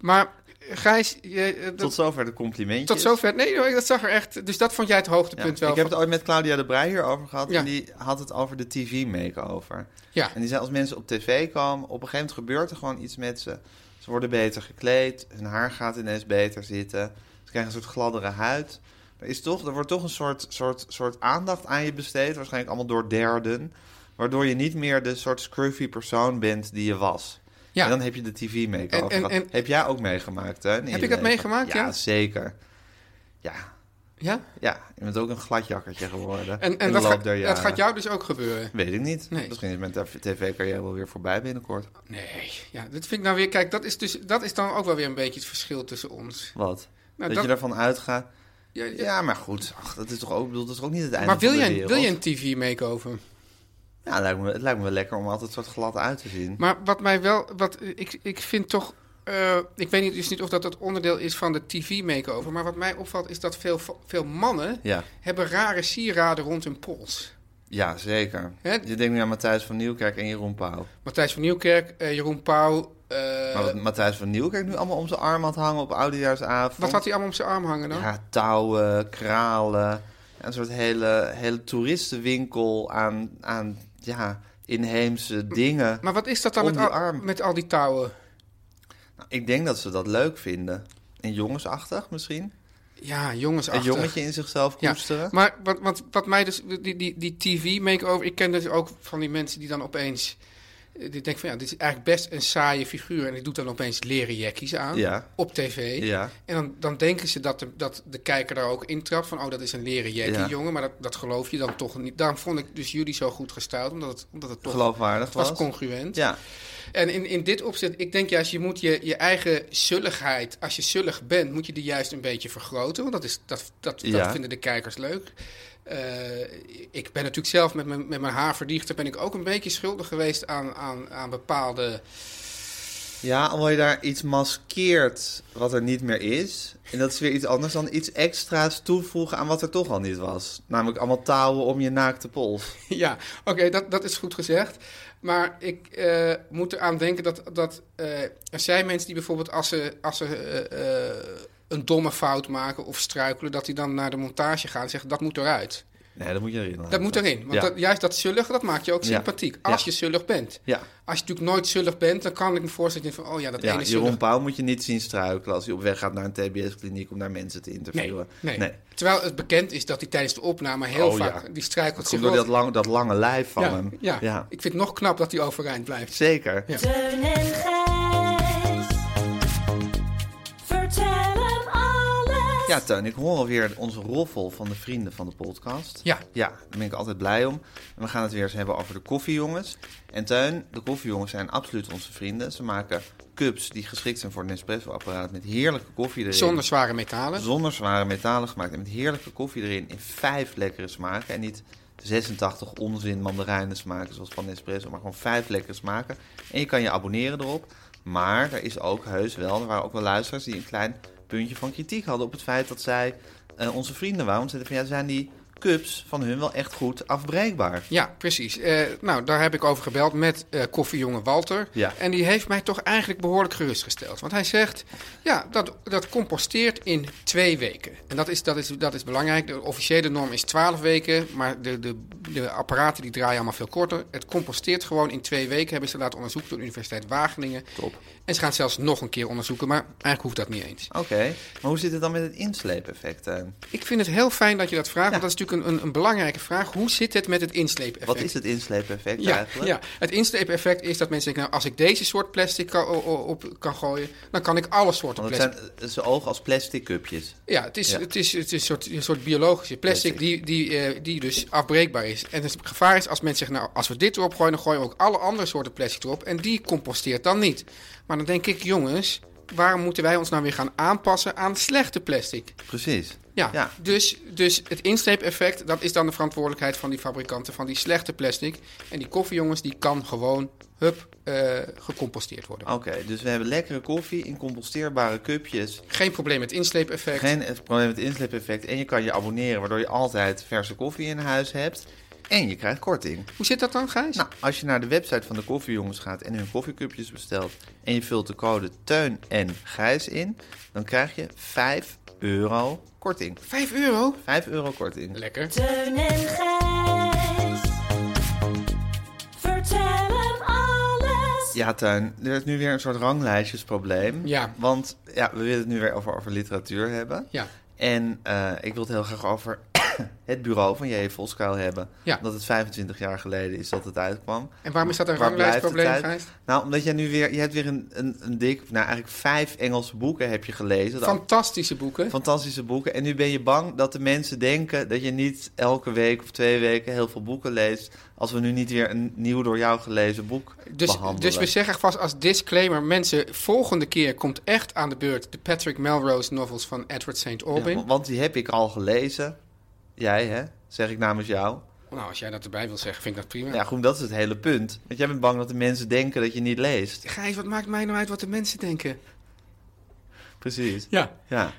Speaker 3: maar Gijs, je, eh, dat-
Speaker 2: Tot zover de complimentjes.
Speaker 3: tot zover. Nee, hoor, dat zag er echt. Dus dat vond jij het
Speaker 2: Ja,
Speaker 3: hoogtepunt wel.
Speaker 2: ik heb
Speaker 3: van-
Speaker 2: het ooit met Claudia de Breij hierover gehad.
Speaker 3: Ja.
Speaker 2: En die had het over de TV-makeover.
Speaker 3: Ja.
Speaker 2: En die zei, als mensen op tv komen, op een gegeven moment gebeurt er gewoon iets met ze. Ze worden beter gekleed, hun haar gaat ineens beter zitten. Ze krijg je een soort gladdere huid. Er, is toch, er wordt toch een soort, soort, soort aandacht aan je besteed, waarschijnlijk allemaal door derden. Waardoor je niet meer de soort scruffy persoon bent die je was.
Speaker 3: Ja.
Speaker 2: En dan heb je de tv-makeover.
Speaker 3: En- en-
Speaker 2: gehad.
Speaker 3: en-
Speaker 2: heb jij ook meegemaakt, hè? in je
Speaker 3: ik dat
Speaker 2: leven?
Speaker 3: meegemaakt, ja?
Speaker 2: Ja, zeker. Ja,
Speaker 3: Ja?
Speaker 2: ja, je bent ook een gladjakkertje geworden.
Speaker 3: En, en
Speaker 2: in
Speaker 3: dat,
Speaker 2: de loop
Speaker 3: ga-
Speaker 2: der
Speaker 3: dat
Speaker 2: jaren.
Speaker 3: gaat jou dus ook gebeuren.
Speaker 2: Weet ik niet.
Speaker 3: Nee.
Speaker 2: Misschien is mijn tv-carrière wel weer voorbij binnenkort.
Speaker 3: Nee, ja, dat vind ik nou weer. Kijk, dat is, dus, dat is dan ook wel weer een beetje het verschil tussen ons.
Speaker 2: Wat? dat,
Speaker 3: Nou, dat-
Speaker 2: je ervan uitgaat.
Speaker 3: Ja, ja.
Speaker 2: Ja, maar goed. Ach, dat is toch ook, ik bedoel, dat is toch ook niet het einde
Speaker 3: maar wil
Speaker 2: van de
Speaker 3: jij, wil
Speaker 2: wereld?
Speaker 3: jij een TV-makeover?
Speaker 2: Ja, het lijkt, me, het lijkt me wel lekker om altijd soort glad uit te zien.
Speaker 3: Maar wat mij wel. Wat, ik, ik vind toch. eh, ik weet niet, dus niet of dat het onderdeel is van de TV-makeover. Maar wat mij opvalt is dat veel, veel mannen.
Speaker 2: Ja.
Speaker 3: hebben rare sieraden rond hun pols.
Speaker 2: Ja, zeker.
Speaker 3: Hè?
Speaker 2: Je denkt nu aan Matthijs van Nieuwkerk en Jeroen Pauw.
Speaker 3: Matthijs van Nieuwkerk, eh, Jeroen Pauw. eh,
Speaker 2: maar wat
Speaker 3: wat,
Speaker 2: Matthijs van Nieuwkerk nu allemaal om zijn arm had hangen op Oudejaarsavond.
Speaker 3: had hij allemaal om zijn arm hangen dan?
Speaker 2: Ja, touwen, kralen. Een soort hele, hele toeristenwinkel aan, aan ja, inheemse dingen.
Speaker 3: Maar wat is dat dan
Speaker 2: Om
Speaker 3: met
Speaker 2: die
Speaker 3: al,
Speaker 2: arm.
Speaker 3: met al die touwen?
Speaker 2: Nou, ik denk dat ze dat leuk vinden. En jongensachtig misschien.
Speaker 3: Ja, jongens.
Speaker 2: Een jongetje in zichzelf
Speaker 3: Ja,
Speaker 2: koesteren.
Speaker 3: maar wat, wat, wat mij dus, die, die, die TV-makeover, ik ken dus ook van die mensen die dan opeens, eh, die denken van ja, dit is eigenlijk best een saaie figuur en ik doe dan opeens leren jackies aan
Speaker 2: Ja.
Speaker 3: op tv.
Speaker 2: Ja.
Speaker 3: En dan, dan denken ze dat de, dat de kijker daar ook intrapt van, oh dat is een leren jackie
Speaker 2: Ja.
Speaker 3: jongen, maar dat, dat geloof je dan toch niet. Daarom vond ik dus jullie zo goed gestuurd, omdat het, omdat het toch
Speaker 2: Geloofwaardig was.
Speaker 3: was congruent.
Speaker 2: Ja,
Speaker 3: En in, in dit opzet, ik denk juist, je moet je, je eigen zulligheid, als je zullig bent, moet je die juist een beetje vergroten. Want dat, is, dat, dat, dat
Speaker 2: Ja.
Speaker 3: vinden de kijkers leuk. Eh, ik ben natuurlijk zelf met mijn, met mijn haarverdichter ben ik ook een beetje schuldig geweest aan, aan, aan bepaalde.
Speaker 2: ja, omdat je daar iets maskeert wat er niet meer is. En dat is weer iets anders dan iets extra's toevoegen aan wat er toch al niet was. Namelijk allemaal touwen om je naakte pols.
Speaker 3: ja, oké, dat, dat is goed gezegd. Maar ik eh, moet eraan denken dat, dat eh, er zijn mensen die bijvoorbeeld als ze, als ze eh, eh, een domme fout maken of struikelen, dat die dan naar de montage gaan en zeggen dat moet eruit.
Speaker 2: Nee, dat moet je erin laten.
Speaker 3: Dat moet erin. Want
Speaker 2: ja.
Speaker 3: dat, juist dat zullig, dat maakt je ook
Speaker 2: Ja.
Speaker 3: sympathiek. Als
Speaker 2: Ja.
Speaker 3: je zullig bent.
Speaker 2: Ja.
Speaker 3: Als je natuurlijk nooit zullig bent, dan kan ik me voorstellen van... oh ja, dat
Speaker 2: Ja,
Speaker 3: ene
Speaker 2: Jeroen
Speaker 3: zullig...
Speaker 2: Pauw moet je niet zien struikelen als hij op weg gaat naar een TBS-kliniek om daar mensen te
Speaker 3: Nee,
Speaker 2: interviewen.
Speaker 3: nee. Terwijl het bekend is dat hij tijdens de opname heel
Speaker 2: Oh,
Speaker 3: vaak...
Speaker 2: ja.
Speaker 3: die
Speaker 2: Dat
Speaker 3: struikelt zich
Speaker 2: komt door
Speaker 3: wel-
Speaker 2: dat, lang, dat lange lijf van
Speaker 3: ja,
Speaker 2: hem.
Speaker 3: Ja. ik vind het nog knap dat hij overeind blijft.
Speaker 2: Zeker.
Speaker 3: Ja.
Speaker 5: Teun en Gijs. Vertel hem alles.
Speaker 2: Ja, Teun, ik hoor alweer onze roffel van de vrienden van de podcast.
Speaker 3: Ja.
Speaker 2: Ja, daar ben ik altijd blij om. En we gaan het weer eens hebben over de koffiejongens. En Teun, de koffiejongens zijn absoluut onze vrienden. Ze maken cups die geschikt zijn voor een espresso-apparaat met heerlijke koffie erin.
Speaker 3: Zonder zware metalen.
Speaker 2: Zonder zware metalen gemaakt en met heerlijke koffie erin in vijf lekkere smaken. En niet 86 onzin mandarijnen smaken zoals van Nespresso, maar gewoon vijf lekkere smaken. En je kan je abonneren erop. Maar er is ook heus wel, er waren ook wel luisteraars die een klein puntje van kritiek hadden op het feit dat zij eh, onze vrienden waren. Want ze zeiden van ja, zijn die cups van hun wel echt goed afbreekbaar?
Speaker 3: Ja, precies. Eh, nou, daar heb ik over gebeld met eh, koffiejongen Walter.
Speaker 2: Ja.
Speaker 3: En die heeft mij toch eigenlijk behoorlijk gerustgesteld. Want hij zegt, ja, dat, dat composteert in twee weken. En dat is, dat, is, dat is belangrijk. De officiële norm is twaalf weken, maar de, de, de apparaten die draaien allemaal veel korter. Het composteert gewoon in twee weken, hebben ze laten onderzoeken door de Universiteit Wageningen.
Speaker 2: Top.
Speaker 3: En ze gaan het zelfs nog een keer onderzoeken, maar eigenlijk hoeft dat niet eens.
Speaker 2: Oké, maar hoe zit het dan met het insleepeffect? eh? Teun?
Speaker 3: Ik vind het heel fijn dat je dat vraagt, want dat is natuurlijk een, een, een belangrijke vraag. Hoe zit het met het insleepeffect?
Speaker 2: Wat is het insleepeffect
Speaker 3: Ja,
Speaker 2: eigenlijk?
Speaker 3: ja, het insleepeffect is dat mensen denken, nou, als ik deze soort plastic ka- o- o- op kan gooien, dan kan ik alle soorten
Speaker 2: Want het
Speaker 3: plastic.
Speaker 2: zijn eh, zijn ogen als plastic cupjes.
Speaker 3: Ja, het is,
Speaker 2: Ja.
Speaker 3: Het is, het is een, soort, een soort biologische plastic die, die, eh, die dus afbreekbaar is. En het gevaar is als mensen zeggen, nou, als we dit erop gooien, dan gooien we ook alle andere soorten plastic erop. En die composteert dan niet. Maar dan denk ik, jongens, waarom moeten wij ons nou weer gaan aanpassen aan slechte plastic?
Speaker 2: Precies.
Speaker 3: Ja, Dus, dus het instreepeffect, dat is dan de verantwoordelijkheid van die fabrikanten van die slechte plastic. En die koffiejongens, die kan gewoon, hup, eh, gecomposteerd worden.
Speaker 2: Oké, dus we hebben lekkere koffie in composteerbare cupjes.
Speaker 3: Geen probleem met instreepeffect.
Speaker 2: Geen eh, probleem met insleepeffect. En je kan je abonneren, waardoor je altijd verse koffie in huis hebt. En je krijgt korting.
Speaker 3: Hoe zit dat dan, Gijs?
Speaker 2: Nou, als je naar de website van de koffiejongens gaat en hun koffiecupjes bestelt... en je vult de code Teun en Gijs in... dan krijg je 5 euro korting.
Speaker 3: Vijf euro?
Speaker 2: 5 euro korting.
Speaker 3: Lekker.
Speaker 5: Teun en Gijs. Vertel hem alles.
Speaker 2: Ja, Tuin, er is nu weer een soort ranglijstjesprobleem.
Speaker 3: Ja.
Speaker 2: Want ja, we willen het nu weer over, over literatuur hebben.
Speaker 3: Ja.
Speaker 2: En eh, ik wil het heel graag over het bureau van J.J. Voskuil hebben.
Speaker 3: Ja.
Speaker 2: Omdat het 25 jaar geleden is dat het uitkwam.
Speaker 3: En waarom is dat een
Speaker 2: Waar blijft het
Speaker 3: ranglijstprobleem,
Speaker 2: uit?
Speaker 3: Gijs?
Speaker 2: Nou, omdat jij nu weer... Je hebt weer een, een, een dik... Nou, eigenlijk vijf Engelse boeken heb je gelezen. De
Speaker 3: Fantastische boeken.
Speaker 2: Fantastische boeken. En nu ben je bang dat de mensen denken dat je niet elke week of twee weken heel veel boeken leest. Als we nu niet weer een nieuw door jou gelezen boek
Speaker 3: Dus,
Speaker 2: behandelen.
Speaker 3: dus we zeggen vast als disclaimer, mensen, volgende keer komt echt aan de beurt de Patrick Melrose novels van Edward St. Aubyn.
Speaker 2: Ja, want die heb ik al gelezen. Jij, hè? Zeg ik namens jou.
Speaker 3: Nou, als jij dat erbij wil zeggen, vind ik dat prima.
Speaker 2: Ja, goed, dat is het hele punt. Want jij bent bang dat de mensen denken dat je niet leest.
Speaker 3: Gijs, wat maakt mij nou uit wat de mensen denken?
Speaker 2: Precies.
Speaker 3: Ja.
Speaker 2: Ja.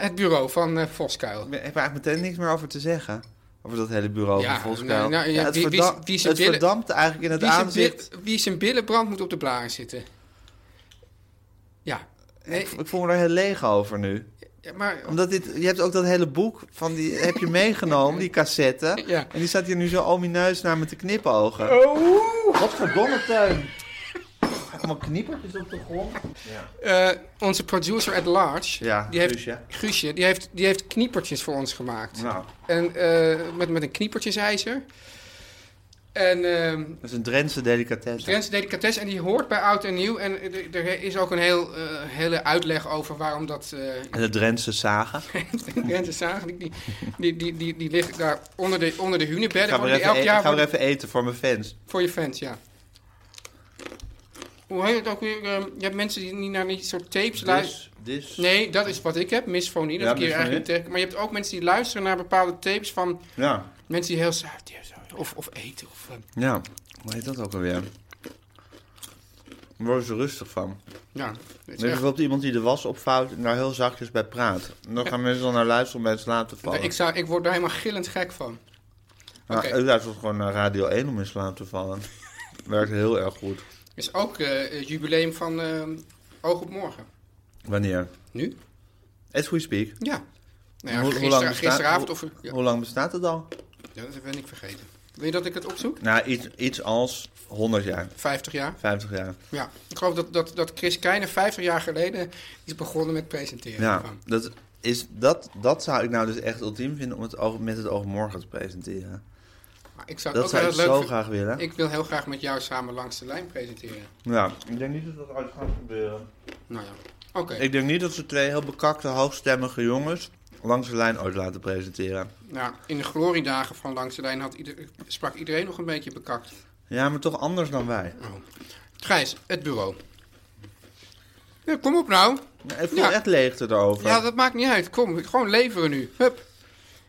Speaker 3: het bureau van eh Voskuil.
Speaker 2: Ik heb er eigenlijk meteen niks meer over te zeggen. Over dat hele bureau
Speaker 3: Ja,
Speaker 2: van Voskuil.
Speaker 3: nou, nou, ja,
Speaker 2: het
Speaker 3: wie- wie-
Speaker 2: verdam-
Speaker 3: wie ze
Speaker 2: het
Speaker 3: willen-
Speaker 2: verdampt eigenlijk in het
Speaker 3: Wie zijn,
Speaker 2: aanzicht.
Speaker 3: bil- wie zijn billen brandt, moet op de blaren zitten. Ja. Nee,
Speaker 2: Ik voel me daar heel leeg over nu.
Speaker 3: ja, maar
Speaker 2: Omdat dit, je hebt ook dat hele boek van die heb je meegenomen, die cassette.
Speaker 3: Ja.
Speaker 2: En die staat hier nu zo omineus naar me te knipogen.
Speaker 3: Oh.
Speaker 2: Wat verdomme tuin. Allemaal knippertjes op de grond.
Speaker 3: eh, onze producer at large,
Speaker 2: Ja,
Speaker 3: die heeft,
Speaker 2: Guusje.
Speaker 3: Guusje, die heeft, die heeft kniepertjes voor ons gemaakt.
Speaker 2: Nou,
Speaker 3: En eh, met, met een kniepertjesijzer. En ehm
Speaker 2: dat is een Drentse delicatesse.
Speaker 3: Drentse delicatesse en die hoort bij oud en nieuw. En er, er is ook een heel, eh, hele uitleg over waarom dat eh,
Speaker 2: En de Drentse zagen.
Speaker 3: De Drentse zagen, die, die, die, die, die, die liggen daar onder de, onder de hunebedden.
Speaker 2: Gaan we
Speaker 3: Worden
Speaker 2: er
Speaker 3: die
Speaker 2: even,
Speaker 3: elk
Speaker 2: e-
Speaker 3: jaar
Speaker 2: gaan we
Speaker 3: worden-
Speaker 2: even eten voor mijn fans.
Speaker 3: voor je fans, ja. Hoe heet het ook weer? ehm, je hebt mensen die niet naar die soort tapes luisteren.
Speaker 2: Dus, dus.
Speaker 3: Nee, dat is wat ik heb. Misfonie, dat
Speaker 2: Ja,
Speaker 3: ik hier
Speaker 2: misfonie.
Speaker 3: eigenlijk niet tegen. Maar je hebt ook mensen die luisteren naar bepaalde tapes van
Speaker 2: Ja.
Speaker 3: mensen die heel zuid die heel zuid- of, of eten. Of, ehm,
Speaker 2: Ja. Hoe heet dat ook alweer? Daar worden ze rustig van.
Speaker 3: ja, dat is
Speaker 2: Dus
Speaker 3: echt-
Speaker 2: bijvoorbeeld iemand die de was opvouwt en daar heel zachtjes bij praat. En dan gaan mensen dan naar luisteren om bij het slaap te vallen. Nou,
Speaker 3: ik, zou, ik word daar helemaal gillend gek van.
Speaker 2: Maar
Speaker 3: Oké.
Speaker 2: u luistert gewoon naar Radio 1 om in slaap te vallen. Werkt heel erg goed.
Speaker 3: Er is ook eh, het jubileum van ehm, Oog op Morgen.
Speaker 2: Wanneer?
Speaker 3: Nu?
Speaker 2: As we speak.
Speaker 3: Ja. Nou
Speaker 2: Hoe-
Speaker 3: ja,
Speaker 2: hoe
Speaker 3: gister-
Speaker 2: lang bestaat-
Speaker 3: gisteravond
Speaker 2: hoe-
Speaker 3: of... ja.
Speaker 2: Hoe lang bestaat het al?
Speaker 3: Ja, dat ben ik vergeten. Wil je dat ik het opzoek?
Speaker 2: Nou, iets, iets als 100 jaar,
Speaker 3: 50 jaar.
Speaker 2: 50 jaar.
Speaker 3: Ja. Ik geloof dat, dat, dat Chris Keijne 50 jaar geleden is begonnen met presenteren.
Speaker 2: Ja,
Speaker 3: Van.
Speaker 2: dat, is, dat, dat zou ik nou dus echt ultiem vinden om het oog, met het oog morgen te presenteren.
Speaker 3: Maar ik zou het
Speaker 2: Dat
Speaker 3: ook
Speaker 2: zou
Speaker 3: heel
Speaker 2: ik
Speaker 3: leuk
Speaker 2: zo
Speaker 3: vi-
Speaker 2: graag willen.
Speaker 3: Ik wil heel graag met jou samen langs de lijn presenteren.
Speaker 2: Ja, ik denk niet dat dat ooit gaat gebeuren.
Speaker 3: Nou ja. Oké.
Speaker 2: Ik denk niet dat ze twee heel bekakte, hoogstemmige jongens langs de lijn ooit laten presenteren.
Speaker 3: Nou, in de gloriedagen van langs de lijn had ieder, sprak iedereen nog een beetje bekakt.
Speaker 2: Ja, maar toch anders dan wij.
Speaker 3: Gijs, het bureau. Ja, kom op nou.
Speaker 2: Ik voel
Speaker 3: Ja.
Speaker 2: echt leegte daarover.
Speaker 3: Ja, dat maakt niet uit. Kom, gewoon leveren nu. Hup.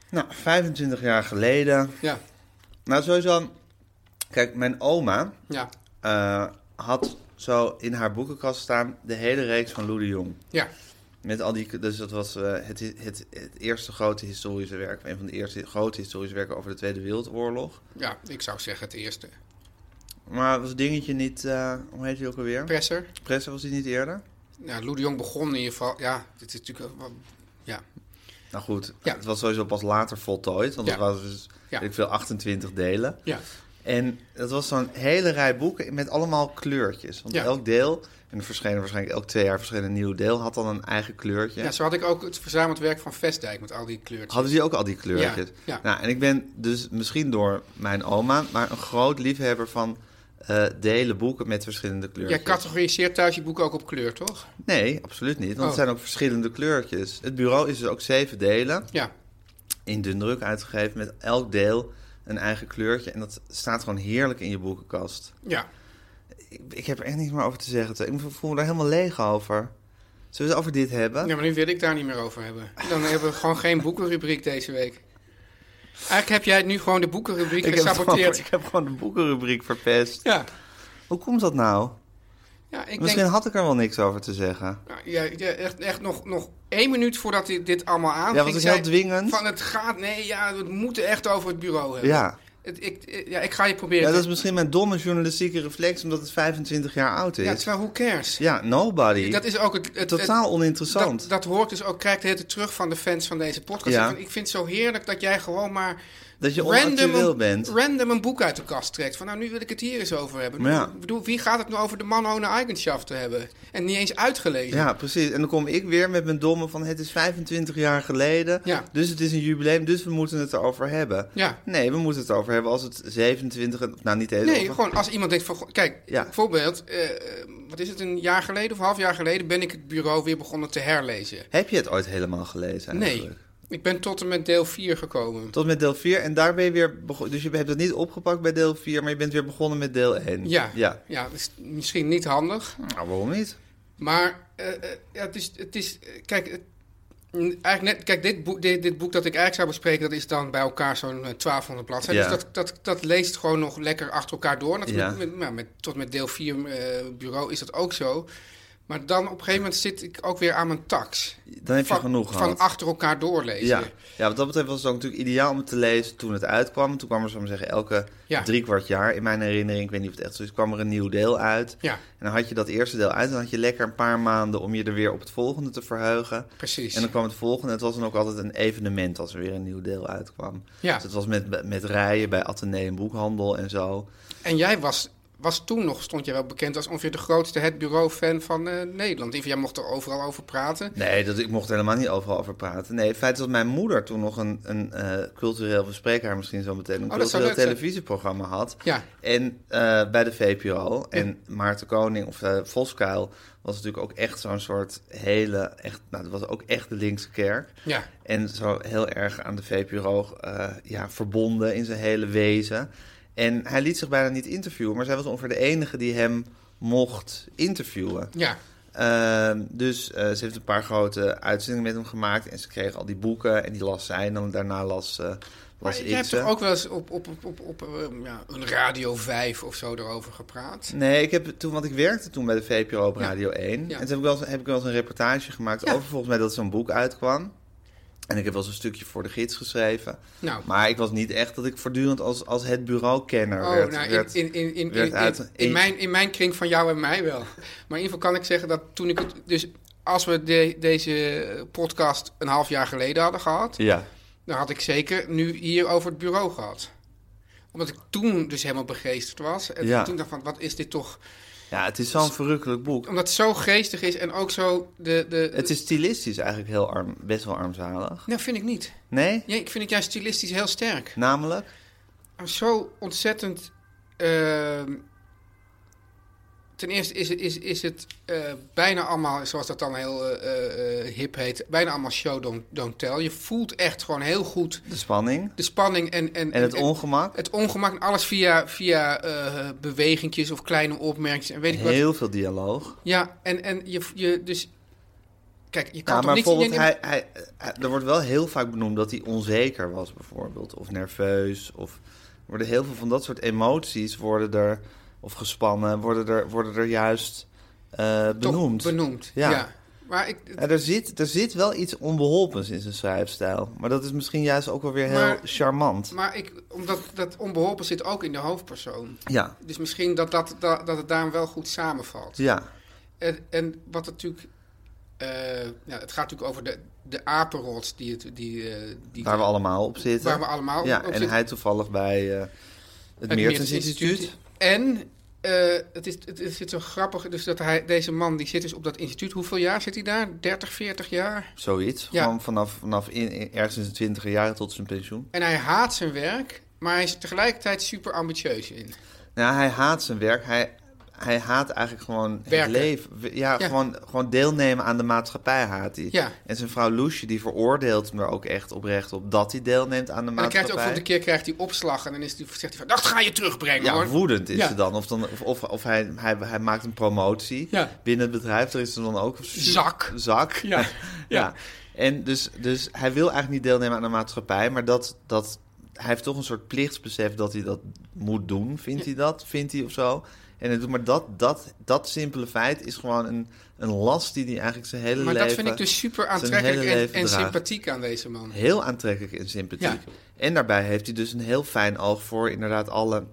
Speaker 2: Nou, 25 jaar geleden.
Speaker 3: Ja.
Speaker 2: Nou, sowieso. Kijk, mijn oma
Speaker 3: Ja.
Speaker 2: eh, had zo in haar boekenkast staan de hele reeks van Lou de Jong.
Speaker 3: Ja.
Speaker 2: Met al die, dus dat was eh, het, het, het eerste grote historische werk, een van de eerste grote historische werken over de Tweede Wereldoorlog.
Speaker 3: Ja, ik zou zeggen het eerste.
Speaker 2: Maar was dingetje niet, eh, hoe heet hij ook alweer?
Speaker 3: Presser.
Speaker 2: Presser was hij niet eerder?
Speaker 3: Nou, Lou de Jong begon in ieder geval. Ja, dit is natuurlijk. wel- Ja,
Speaker 2: Nou goed,
Speaker 3: Ja.
Speaker 2: het was sowieso pas later voltooid, want
Speaker 3: Ja.
Speaker 2: dat was dus,
Speaker 3: Ja.
Speaker 2: weet ik veel, 28 delen.
Speaker 3: ja,
Speaker 2: En dat was zo'n hele rij boeken met allemaal kleurtjes. Want
Speaker 3: Ja.
Speaker 2: elk deel, en er verschenen waarschijnlijk elk twee jaar verschenen een nieuw deel, had dan een eigen kleurtje.
Speaker 3: ja. Zo had ik ook het verzameld werk van Vestdijk met al die kleurtjes.
Speaker 2: Hadden die ook al die kleurtjes?
Speaker 3: Ja, ja.
Speaker 2: Nou, en ik ben dus misschien door mijn oma, maar een groot liefhebber van eh delen boeken met verschillende kleurtjes.
Speaker 3: Jij categoriseert thuis je boek ook op kleur, toch?
Speaker 2: Nee, absoluut niet, want
Speaker 3: Oh.
Speaker 2: het zijn ook verschillende kleurtjes. Het bureau is dus ook zeven delen,
Speaker 3: Ja,
Speaker 2: in dun druk uitgegeven, met elk deel een eigen kleurtje. En dat staat gewoon heerlijk in je boekenkast.
Speaker 3: ja.
Speaker 2: Ik, ik heb er echt niks meer over te zeggen. Ik voel me daar helemaal leeg over. Zullen we het over dit hebben?
Speaker 3: Ja, maar nu wil ik daar niet meer over hebben. Dan hebben we gewoon geen boekenrubriek deze week. Eigenlijk heb jij nu gewoon de
Speaker 2: ik,
Speaker 3: boekenrubriek
Speaker 2: heb het gewoon-
Speaker 3: gesaboteerd.
Speaker 2: ik heb gewoon de boekenrubriek verpest.
Speaker 3: Ja,
Speaker 2: Hoe komt dat nou?
Speaker 3: ja ik
Speaker 2: Misschien
Speaker 3: denk.
Speaker 2: had ik er wel niks over te zeggen.
Speaker 3: Nou, Ja, ja, echt, echt nog, nog één minuut voordat dit, dit allemaal aan
Speaker 2: Ja, want het is heel dwingend.
Speaker 3: Van het gaat, nee, ja, we moeten echt over het bureau hebben.
Speaker 2: Ja.
Speaker 3: Het- ik, ik- ja, ik ga je proberen.
Speaker 2: Ja,
Speaker 3: te-
Speaker 2: dat is misschien mijn domme journalistieke reflex, omdat het 25 jaar oud
Speaker 3: ja,
Speaker 2: is.
Speaker 3: terwijl who cares?
Speaker 2: Ja, nobody.
Speaker 3: Dat is ook het, het- het-
Speaker 2: Totaal oninteressant.
Speaker 3: Dat, dat hoor ik dus ook, krijg ik de hele tijd terug van de fans van deze podcast.
Speaker 2: Ja.
Speaker 3: Van, Ik vind het zo heerlijk dat jij gewoon maar
Speaker 2: Dat je onactueel
Speaker 3: random,
Speaker 2: bent.
Speaker 3: random een boek uit de kast trekt. Van nou, nu wil ik het hier eens over hebben.
Speaker 2: Ja.
Speaker 3: Ik bedoel, wie gaat het nou over de man ohne eigenschaft te hebben? En niet eens uitgelezen.
Speaker 2: Ja, precies. En dan kom ik weer met mijn domme van het is 25 jaar geleden,
Speaker 3: Ja.
Speaker 2: dus het is een jubileum, dus we moeten het erover hebben.
Speaker 3: Ja.
Speaker 2: Nee, we moeten het over hebben als het 27, en- nou niet heel
Speaker 3: Nee, gewoon als iemand denkt van... goh, Kijk,
Speaker 2: Ja.
Speaker 3: bijvoorbeeld, eh, wat is het, een jaar geleden of een half jaar geleden... ben ik het bureau weer begonnen te herlezen.
Speaker 2: Heb je het ooit helemaal gelezen eigenlijk?
Speaker 3: Nee, ik ben tot en met deel 4 gekomen.
Speaker 2: Tot met deel 4 en daar ben je weer begonnen. Dus je hebt dat niet opgepakt bij deel 4, maar je bent weer begonnen met deel 1.
Speaker 3: Ja,
Speaker 2: ja.
Speaker 3: ja. dat is misschien niet handig.
Speaker 2: Nou, waarom niet?
Speaker 3: Maar eh, eh, ja, het is... Het is eh, kijk, het- mm, eigenlijk net, kijk dit, boek, dit, dit boek dat ik eigenlijk zou bespreken... dat is dan bij elkaar zo'n eh, 1200 bladzijden.
Speaker 2: Ja.
Speaker 3: Dus dat, dat, dat leest gewoon nog lekker achter elkaar door. Natuurlijk,
Speaker 2: Ja.
Speaker 3: met, nou, met, tot met deel 4 eh, bureau is dat ook zo... Maar dan op een gegeven moment zit ik ook weer aan mijn tax.
Speaker 2: Dan heb je genoeg
Speaker 3: van
Speaker 2: gehad.
Speaker 3: achter elkaar doorlezen.
Speaker 2: Ja. ja, wat dat betreft was het ook natuurlijk ideaal om het te lezen toen het uitkwam. Toen kwam er, zou ik maar zeggen, elke
Speaker 3: Ja.
Speaker 2: drie kwart jaar, in mijn herinnering, ik weet niet of het echt zo is, kwam er een nieuw deel uit.
Speaker 3: Ja.
Speaker 2: En dan had je dat eerste deel uit en dan had je lekker een paar maanden om je er weer op het volgende te verheugen.
Speaker 3: Precies.
Speaker 2: En dan kwam het volgende. Het was dan ook altijd een evenement als er weer een nieuw deel uitkwam.
Speaker 3: Ja.
Speaker 2: Dus het was met, met rijen bij Atheneum Boekhandel en zo.
Speaker 3: En jij was, was toen nog, stond jij wel bekend als ongeveer de grootste het bureau-fan van eh, Nederland. Even, jij mocht er overal over praten.
Speaker 2: Nee, dat, ik mocht er helemaal niet overal over praten. Nee, het feit is dat mijn moeder toen nog een, een eh, cultureel verspreker, misschien zo meteen, een
Speaker 3: Oh, dat zou
Speaker 2: cultureel
Speaker 3: leuk zijn.
Speaker 2: televisieprogramma had.
Speaker 3: Ja.
Speaker 2: En eh, bij de VPRO. En Maarten Koning of eh Voskuil was natuurlijk ook echt zo'n soort hele, echt, nou, dat was ook echt de linkse kerk.
Speaker 3: Ja.
Speaker 2: En zo heel erg aan de VPRO eh, ja, verbonden in zijn hele wezen. En hij liet zich bijna niet interviewen, maar zij was ongeveer de enige die hem mocht interviewen.
Speaker 3: Ja,
Speaker 2: Ehm, dus eh, ze heeft een paar grote uitzendingen met hem gemaakt. En ze kreeg al die boeken en die las zij. En dan daarna las, eh
Speaker 3: maar
Speaker 2: las ik
Speaker 3: jij hebt
Speaker 2: ze.
Speaker 3: toch ook wel eens op, op, op, op, op eh, ja, een Radio 5 of zo erover gepraat?
Speaker 2: Nee, ik heb toen, want ik werkte toen bij de VPRO op Radio 1. En toen
Speaker 3: Ja.
Speaker 2: heb ik, wel eens, heb ik wel eens een reportage gemaakt over volgens mij dat zo'n boek uitkwam. En ik heb wel eens een stukje voor de gids geschreven.
Speaker 3: Nou.
Speaker 2: Maar ik was niet echt dat ik voortdurend als, als het bureaukenner
Speaker 3: Oh,
Speaker 2: werd,
Speaker 3: nou, in,
Speaker 2: werd-
Speaker 3: in, in, in,
Speaker 2: werd
Speaker 3: in,
Speaker 2: uit-
Speaker 3: in, in mijn, in mijn kring van jou en mij wel. Maar in ieder geval kan ik zeggen dat toen ik het... Dus als we de- deze podcast een half jaar geleden hadden gehad...
Speaker 2: Ja.
Speaker 3: Dan had ik zeker nu hier over het bureau gehad. Omdat ik toen dus helemaal begeesterd was. En
Speaker 2: Ja.
Speaker 3: toen dacht ik van, wat is dit toch...
Speaker 2: ja, het is zo'n verrukkelijk boek.
Speaker 3: Omdat het zo geestig is en ook zo de... de
Speaker 2: Het is stilistisch eigenlijk heel arm, best wel armzalig.
Speaker 3: Nou, vind ik niet.
Speaker 2: Nee?
Speaker 3: Ja, ik vind het juist stilistisch heel sterk.
Speaker 2: Namelijk?
Speaker 3: Maar Zo ontzettend... ehm, ten eerste is, is, is het eh, bijna allemaal, zoals dat dan heel eh, eh, eh, hip heet... bijna allemaal show don't, don't tell. Je voelt echt gewoon heel goed
Speaker 2: De spanning
Speaker 3: de spanning en... En,
Speaker 2: en het ongemak.
Speaker 3: Het ongemak en alles via, via eh bewegingjes of kleine opmerkingen en weet ik wat.
Speaker 2: Heel veel dialoog.
Speaker 3: Ja, en, en je, je dus... Kijk, je kan
Speaker 2: Ja,
Speaker 3: toch
Speaker 2: maar
Speaker 3: niet...
Speaker 2: bijvoorbeeld,
Speaker 3: je-
Speaker 2: hij, hij, hij- er wordt wel heel vaak benoemd dat hij onzeker was, bijvoorbeeld. Of nerveus. Of er worden heel veel van dat soort emoties worden er, of gespannen, worden er, worden er juist eh,
Speaker 3: toch
Speaker 2: benoemd.
Speaker 3: Benoemd,
Speaker 2: Ja.
Speaker 3: ja. Maar ik...
Speaker 2: Ja, er, zit, er zit wel iets onbeholpens in zijn schrijfstijl. Maar dat is misschien juist ook wel weer heel
Speaker 3: Maar-
Speaker 2: charmant.
Speaker 3: Maar ik, omdat dat onbeholpen zit ook in de hoofdpersoon.
Speaker 2: Ja,
Speaker 3: Dus misschien dat, dat, dat, dat het daarom wel goed samenvalt.
Speaker 2: ja.
Speaker 3: En, en wat natuurlijk... eh, ja, het gaat natuurlijk over de, de apenrots die het... Die, eh, die,
Speaker 2: Waar we allemaal op zitten.
Speaker 3: Waar we allemaal
Speaker 2: ja,
Speaker 3: op
Speaker 2: en
Speaker 3: zitten.
Speaker 2: hij toevallig bij eh, het,
Speaker 3: Het
Speaker 2: Meertens
Speaker 3: Meertens
Speaker 2: Instituut.
Speaker 3: En eh, het, is, het, het zit zo grappig, dus dat hij, deze man die zit dus op dat instituut. Hoeveel jaar zit hij daar? 30, 40 jaar?
Speaker 2: Zoiets.
Speaker 3: Ja.
Speaker 2: Gewoon vanaf, vanaf in, in- ergens in zijn twintiger jaren tot zijn pensioen.
Speaker 3: En hij haat zijn werk, maar hij is er tegelijkertijd super ambitieus in.
Speaker 2: Nou, hij haat zijn werk. Hij, hij haat eigenlijk gewoon het
Speaker 3: Werken.
Speaker 2: leven. We- Ja,
Speaker 3: Ja.
Speaker 2: Gewoon, gewoon deelnemen aan de maatschappij haat hij.
Speaker 3: Ja.
Speaker 2: En zijn vrouw Loesje, die veroordeelt me ook echt oprecht op dat hij deelneemt aan de
Speaker 3: En dan krijgt
Speaker 2: maatschappij.
Speaker 3: hij ook voor de keer krijgt hij opslag en dan is hij, zegt hij van, dat ga je terugbrengen
Speaker 2: ja,
Speaker 3: hoor.
Speaker 2: woedend is
Speaker 3: Ja.
Speaker 2: ze dan. Of, dan, of, of, of hij, hij, hij maakt een promotie
Speaker 3: Ja.
Speaker 2: binnen het bedrijf. Er is er dan ook een su-
Speaker 3: Zak.
Speaker 2: Zak.
Speaker 3: Ja,
Speaker 2: ja.
Speaker 3: ja.
Speaker 2: En dus, dus hij wil eigenlijk niet deelnemen aan de maatschappij. Maar dat, dat hij heeft toch een soort plichtsbesef dat hij dat moet doen. Vindt hij dat? Vindt hij of zo? En het, maar dat, dat, dat simpele feit is gewoon een, een last die hij eigenlijk zijn hele
Speaker 3: Maar
Speaker 2: leven...
Speaker 3: dat vind ik dus super
Speaker 2: zijn
Speaker 3: aantrekkelijk
Speaker 2: hele
Speaker 3: en,
Speaker 2: leven
Speaker 3: en
Speaker 2: draagt.
Speaker 3: sympathiek aan deze man.
Speaker 2: Heel aantrekkelijk en sympathiek.
Speaker 3: Ja.
Speaker 2: En daarbij heeft hij dus een heel fijn oog voor inderdaad alle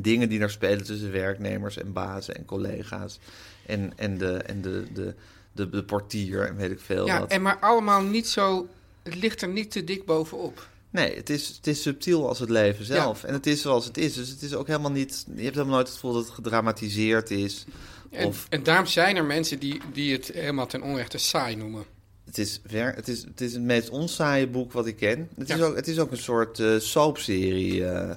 Speaker 2: dingen die daar spelen tussen werknemers en bazen en collega's. En, en, de, en de, de, de, de portier en weet ik veel
Speaker 3: Ja,
Speaker 2: wat.
Speaker 3: en maar allemaal niet zo... Het ligt er niet te dik bovenop.
Speaker 2: Nee, het is, het is subtiel als het leven zelf. En het is zoals het is. Dus het is ook helemaal niet. Je hebt helemaal nooit het gevoel dat het gedramatiseerd is.
Speaker 3: En,
Speaker 2: Of
Speaker 3: en daarom zijn er mensen die, die het helemaal ten onrechte saai noemen.
Speaker 2: het is, wer- het is, het is het meest onsaaie boek wat ik ken. Het,
Speaker 3: Ja.
Speaker 2: is, ook, het is ook een soort eh, soapserie, eh,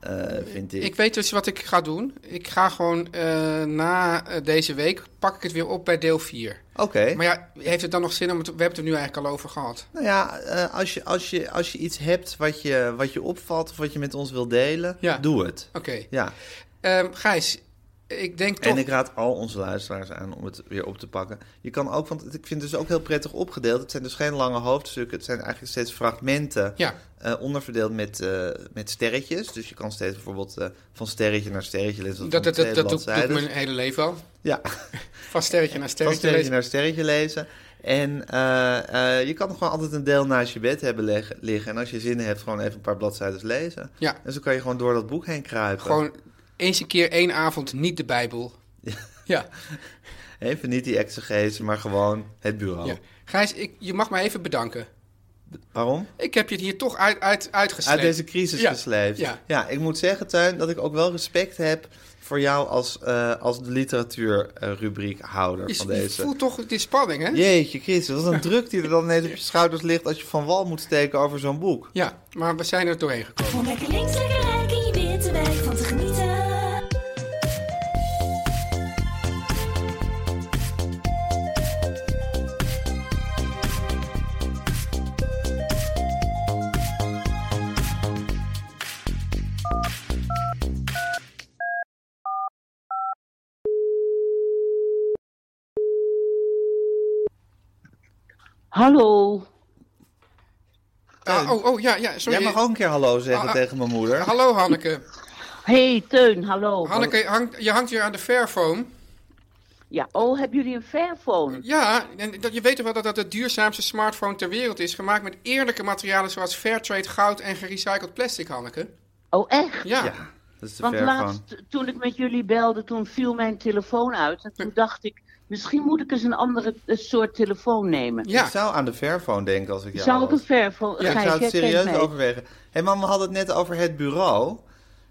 Speaker 2: eh, vind ik.
Speaker 3: Ik weet dus wat ik ga doen. Ik ga gewoon eh, na eh, deze week, pak ik het weer op bij deel 4.
Speaker 2: Oké.
Speaker 3: Maar ja, heeft het dan nog zin om het... We hebben het er nu eigenlijk al over gehad.
Speaker 2: Nou ja, eh, als, je, als, je, als je iets hebt wat je, wat je opvalt of wat je met ons wil delen,
Speaker 3: Ja.
Speaker 2: doe het.
Speaker 3: Oké.
Speaker 2: Ja.
Speaker 3: Ehm, Gijs, ik denk toch...
Speaker 2: En ik raad al onze luisteraars aan om het weer op te pakken. Je kan ook, want ik vind het dus ook heel prettig opgedeeld. Het zijn dus geen lange hoofdstukken. Het zijn eigenlijk steeds fragmenten.
Speaker 3: Ja.
Speaker 2: eh, onderverdeeld met, eh, met sterretjes. Dus je kan steeds bijvoorbeeld eh, van sterretje naar sterretje lezen.
Speaker 3: Dat, dat,
Speaker 2: van
Speaker 3: dat,
Speaker 2: twee
Speaker 3: dat doe, doe ik
Speaker 2: bladzijden.
Speaker 3: mijn hele leven al.
Speaker 2: Ja.
Speaker 3: Van sterretje naar
Speaker 2: Van
Speaker 3: sterretje.
Speaker 2: dus- sterretje
Speaker 3: lezen.
Speaker 2: naar sterretje lezen. En eh, eh, je kan gewoon altijd een deel naast je bed hebben leg- liggen. En als je zin hebt, gewoon even een paar bladzijden lezen.
Speaker 3: Ja.
Speaker 2: En zo kan je gewoon door dat boek heen kruipen.
Speaker 3: Gewoon eens een keer één avond niet de Bijbel. Ja.
Speaker 2: Even niet die exegese, maar gewoon het bureau.
Speaker 3: ja. Gijs, ik, je mag mij even bedanken.
Speaker 2: Waarom?
Speaker 3: Ik heb je het hier toch uit, uit, uitgesleept.
Speaker 2: Uit deze crisis
Speaker 3: Ja,
Speaker 2: gesleept.
Speaker 3: ja.
Speaker 2: ik moet zeggen, Tuin, dat ik ook wel respect heb voor jou als, eh, als de literatuurrubriekhouder
Speaker 3: Je,
Speaker 2: van
Speaker 3: je
Speaker 2: deze.
Speaker 3: voelt toch die spanning, hè?
Speaker 2: Jeetje, Christus, wat een druk die er dan ineens op je schouders ligt als je van wal moet steken over zo'n boek.
Speaker 3: Ja, maar we zijn er doorheen gekomen.
Speaker 5: Om lekker links, lekker rijk in je witte wijk van te genieten.
Speaker 6: Hallo.
Speaker 3: Ah, oh, oh, ja, ja, sorry.
Speaker 2: Jij mag ook een keer hallo zeggen
Speaker 3: Ah, ah.
Speaker 2: tegen mijn moeder.
Speaker 3: Hallo Hanneke.
Speaker 6: Hey Teun, hallo.
Speaker 3: Hanneke, hangt- je hangt weer aan de Fairphone.
Speaker 6: Ja, oh, hebben jullie een Fairphone?
Speaker 3: Ja, en dat, je weet toch wel dat dat de duurzaamste smartphone ter wereld is. Gemaakt met eerlijke materialen zoals Fairtrade goud en gerecycled plastic, Hanneke.
Speaker 6: Oh, echt?
Speaker 3: Ja.
Speaker 2: Ja, dat is te
Speaker 6: Want
Speaker 2: ver
Speaker 6: laatst,
Speaker 2: van.
Speaker 6: toen ik met jullie belde, toen viel mijn telefoon uit. En toen dacht ik, misschien moet ik eens een andere eh, soort telefoon nemen.
Speaker 3: Ja.
Speaker 2: Ik zou aan de Fairphone denken als ik jou
Speaker 6: Zou ik een
Speaker 2: was.
Speaker 6: Fairphone...
Speaker 3: Ja,
Speaker 2: Ik
Speaker 6: Gijs,
Speaker 2: zou
Speaker 6: jij
Speaker 2: het
Speaker 6: kent
Speaker 2: serieus
Speaker 6: mij.
Speaker 2: overwegen. Hé hey, mam, we hadden het net over het bureau.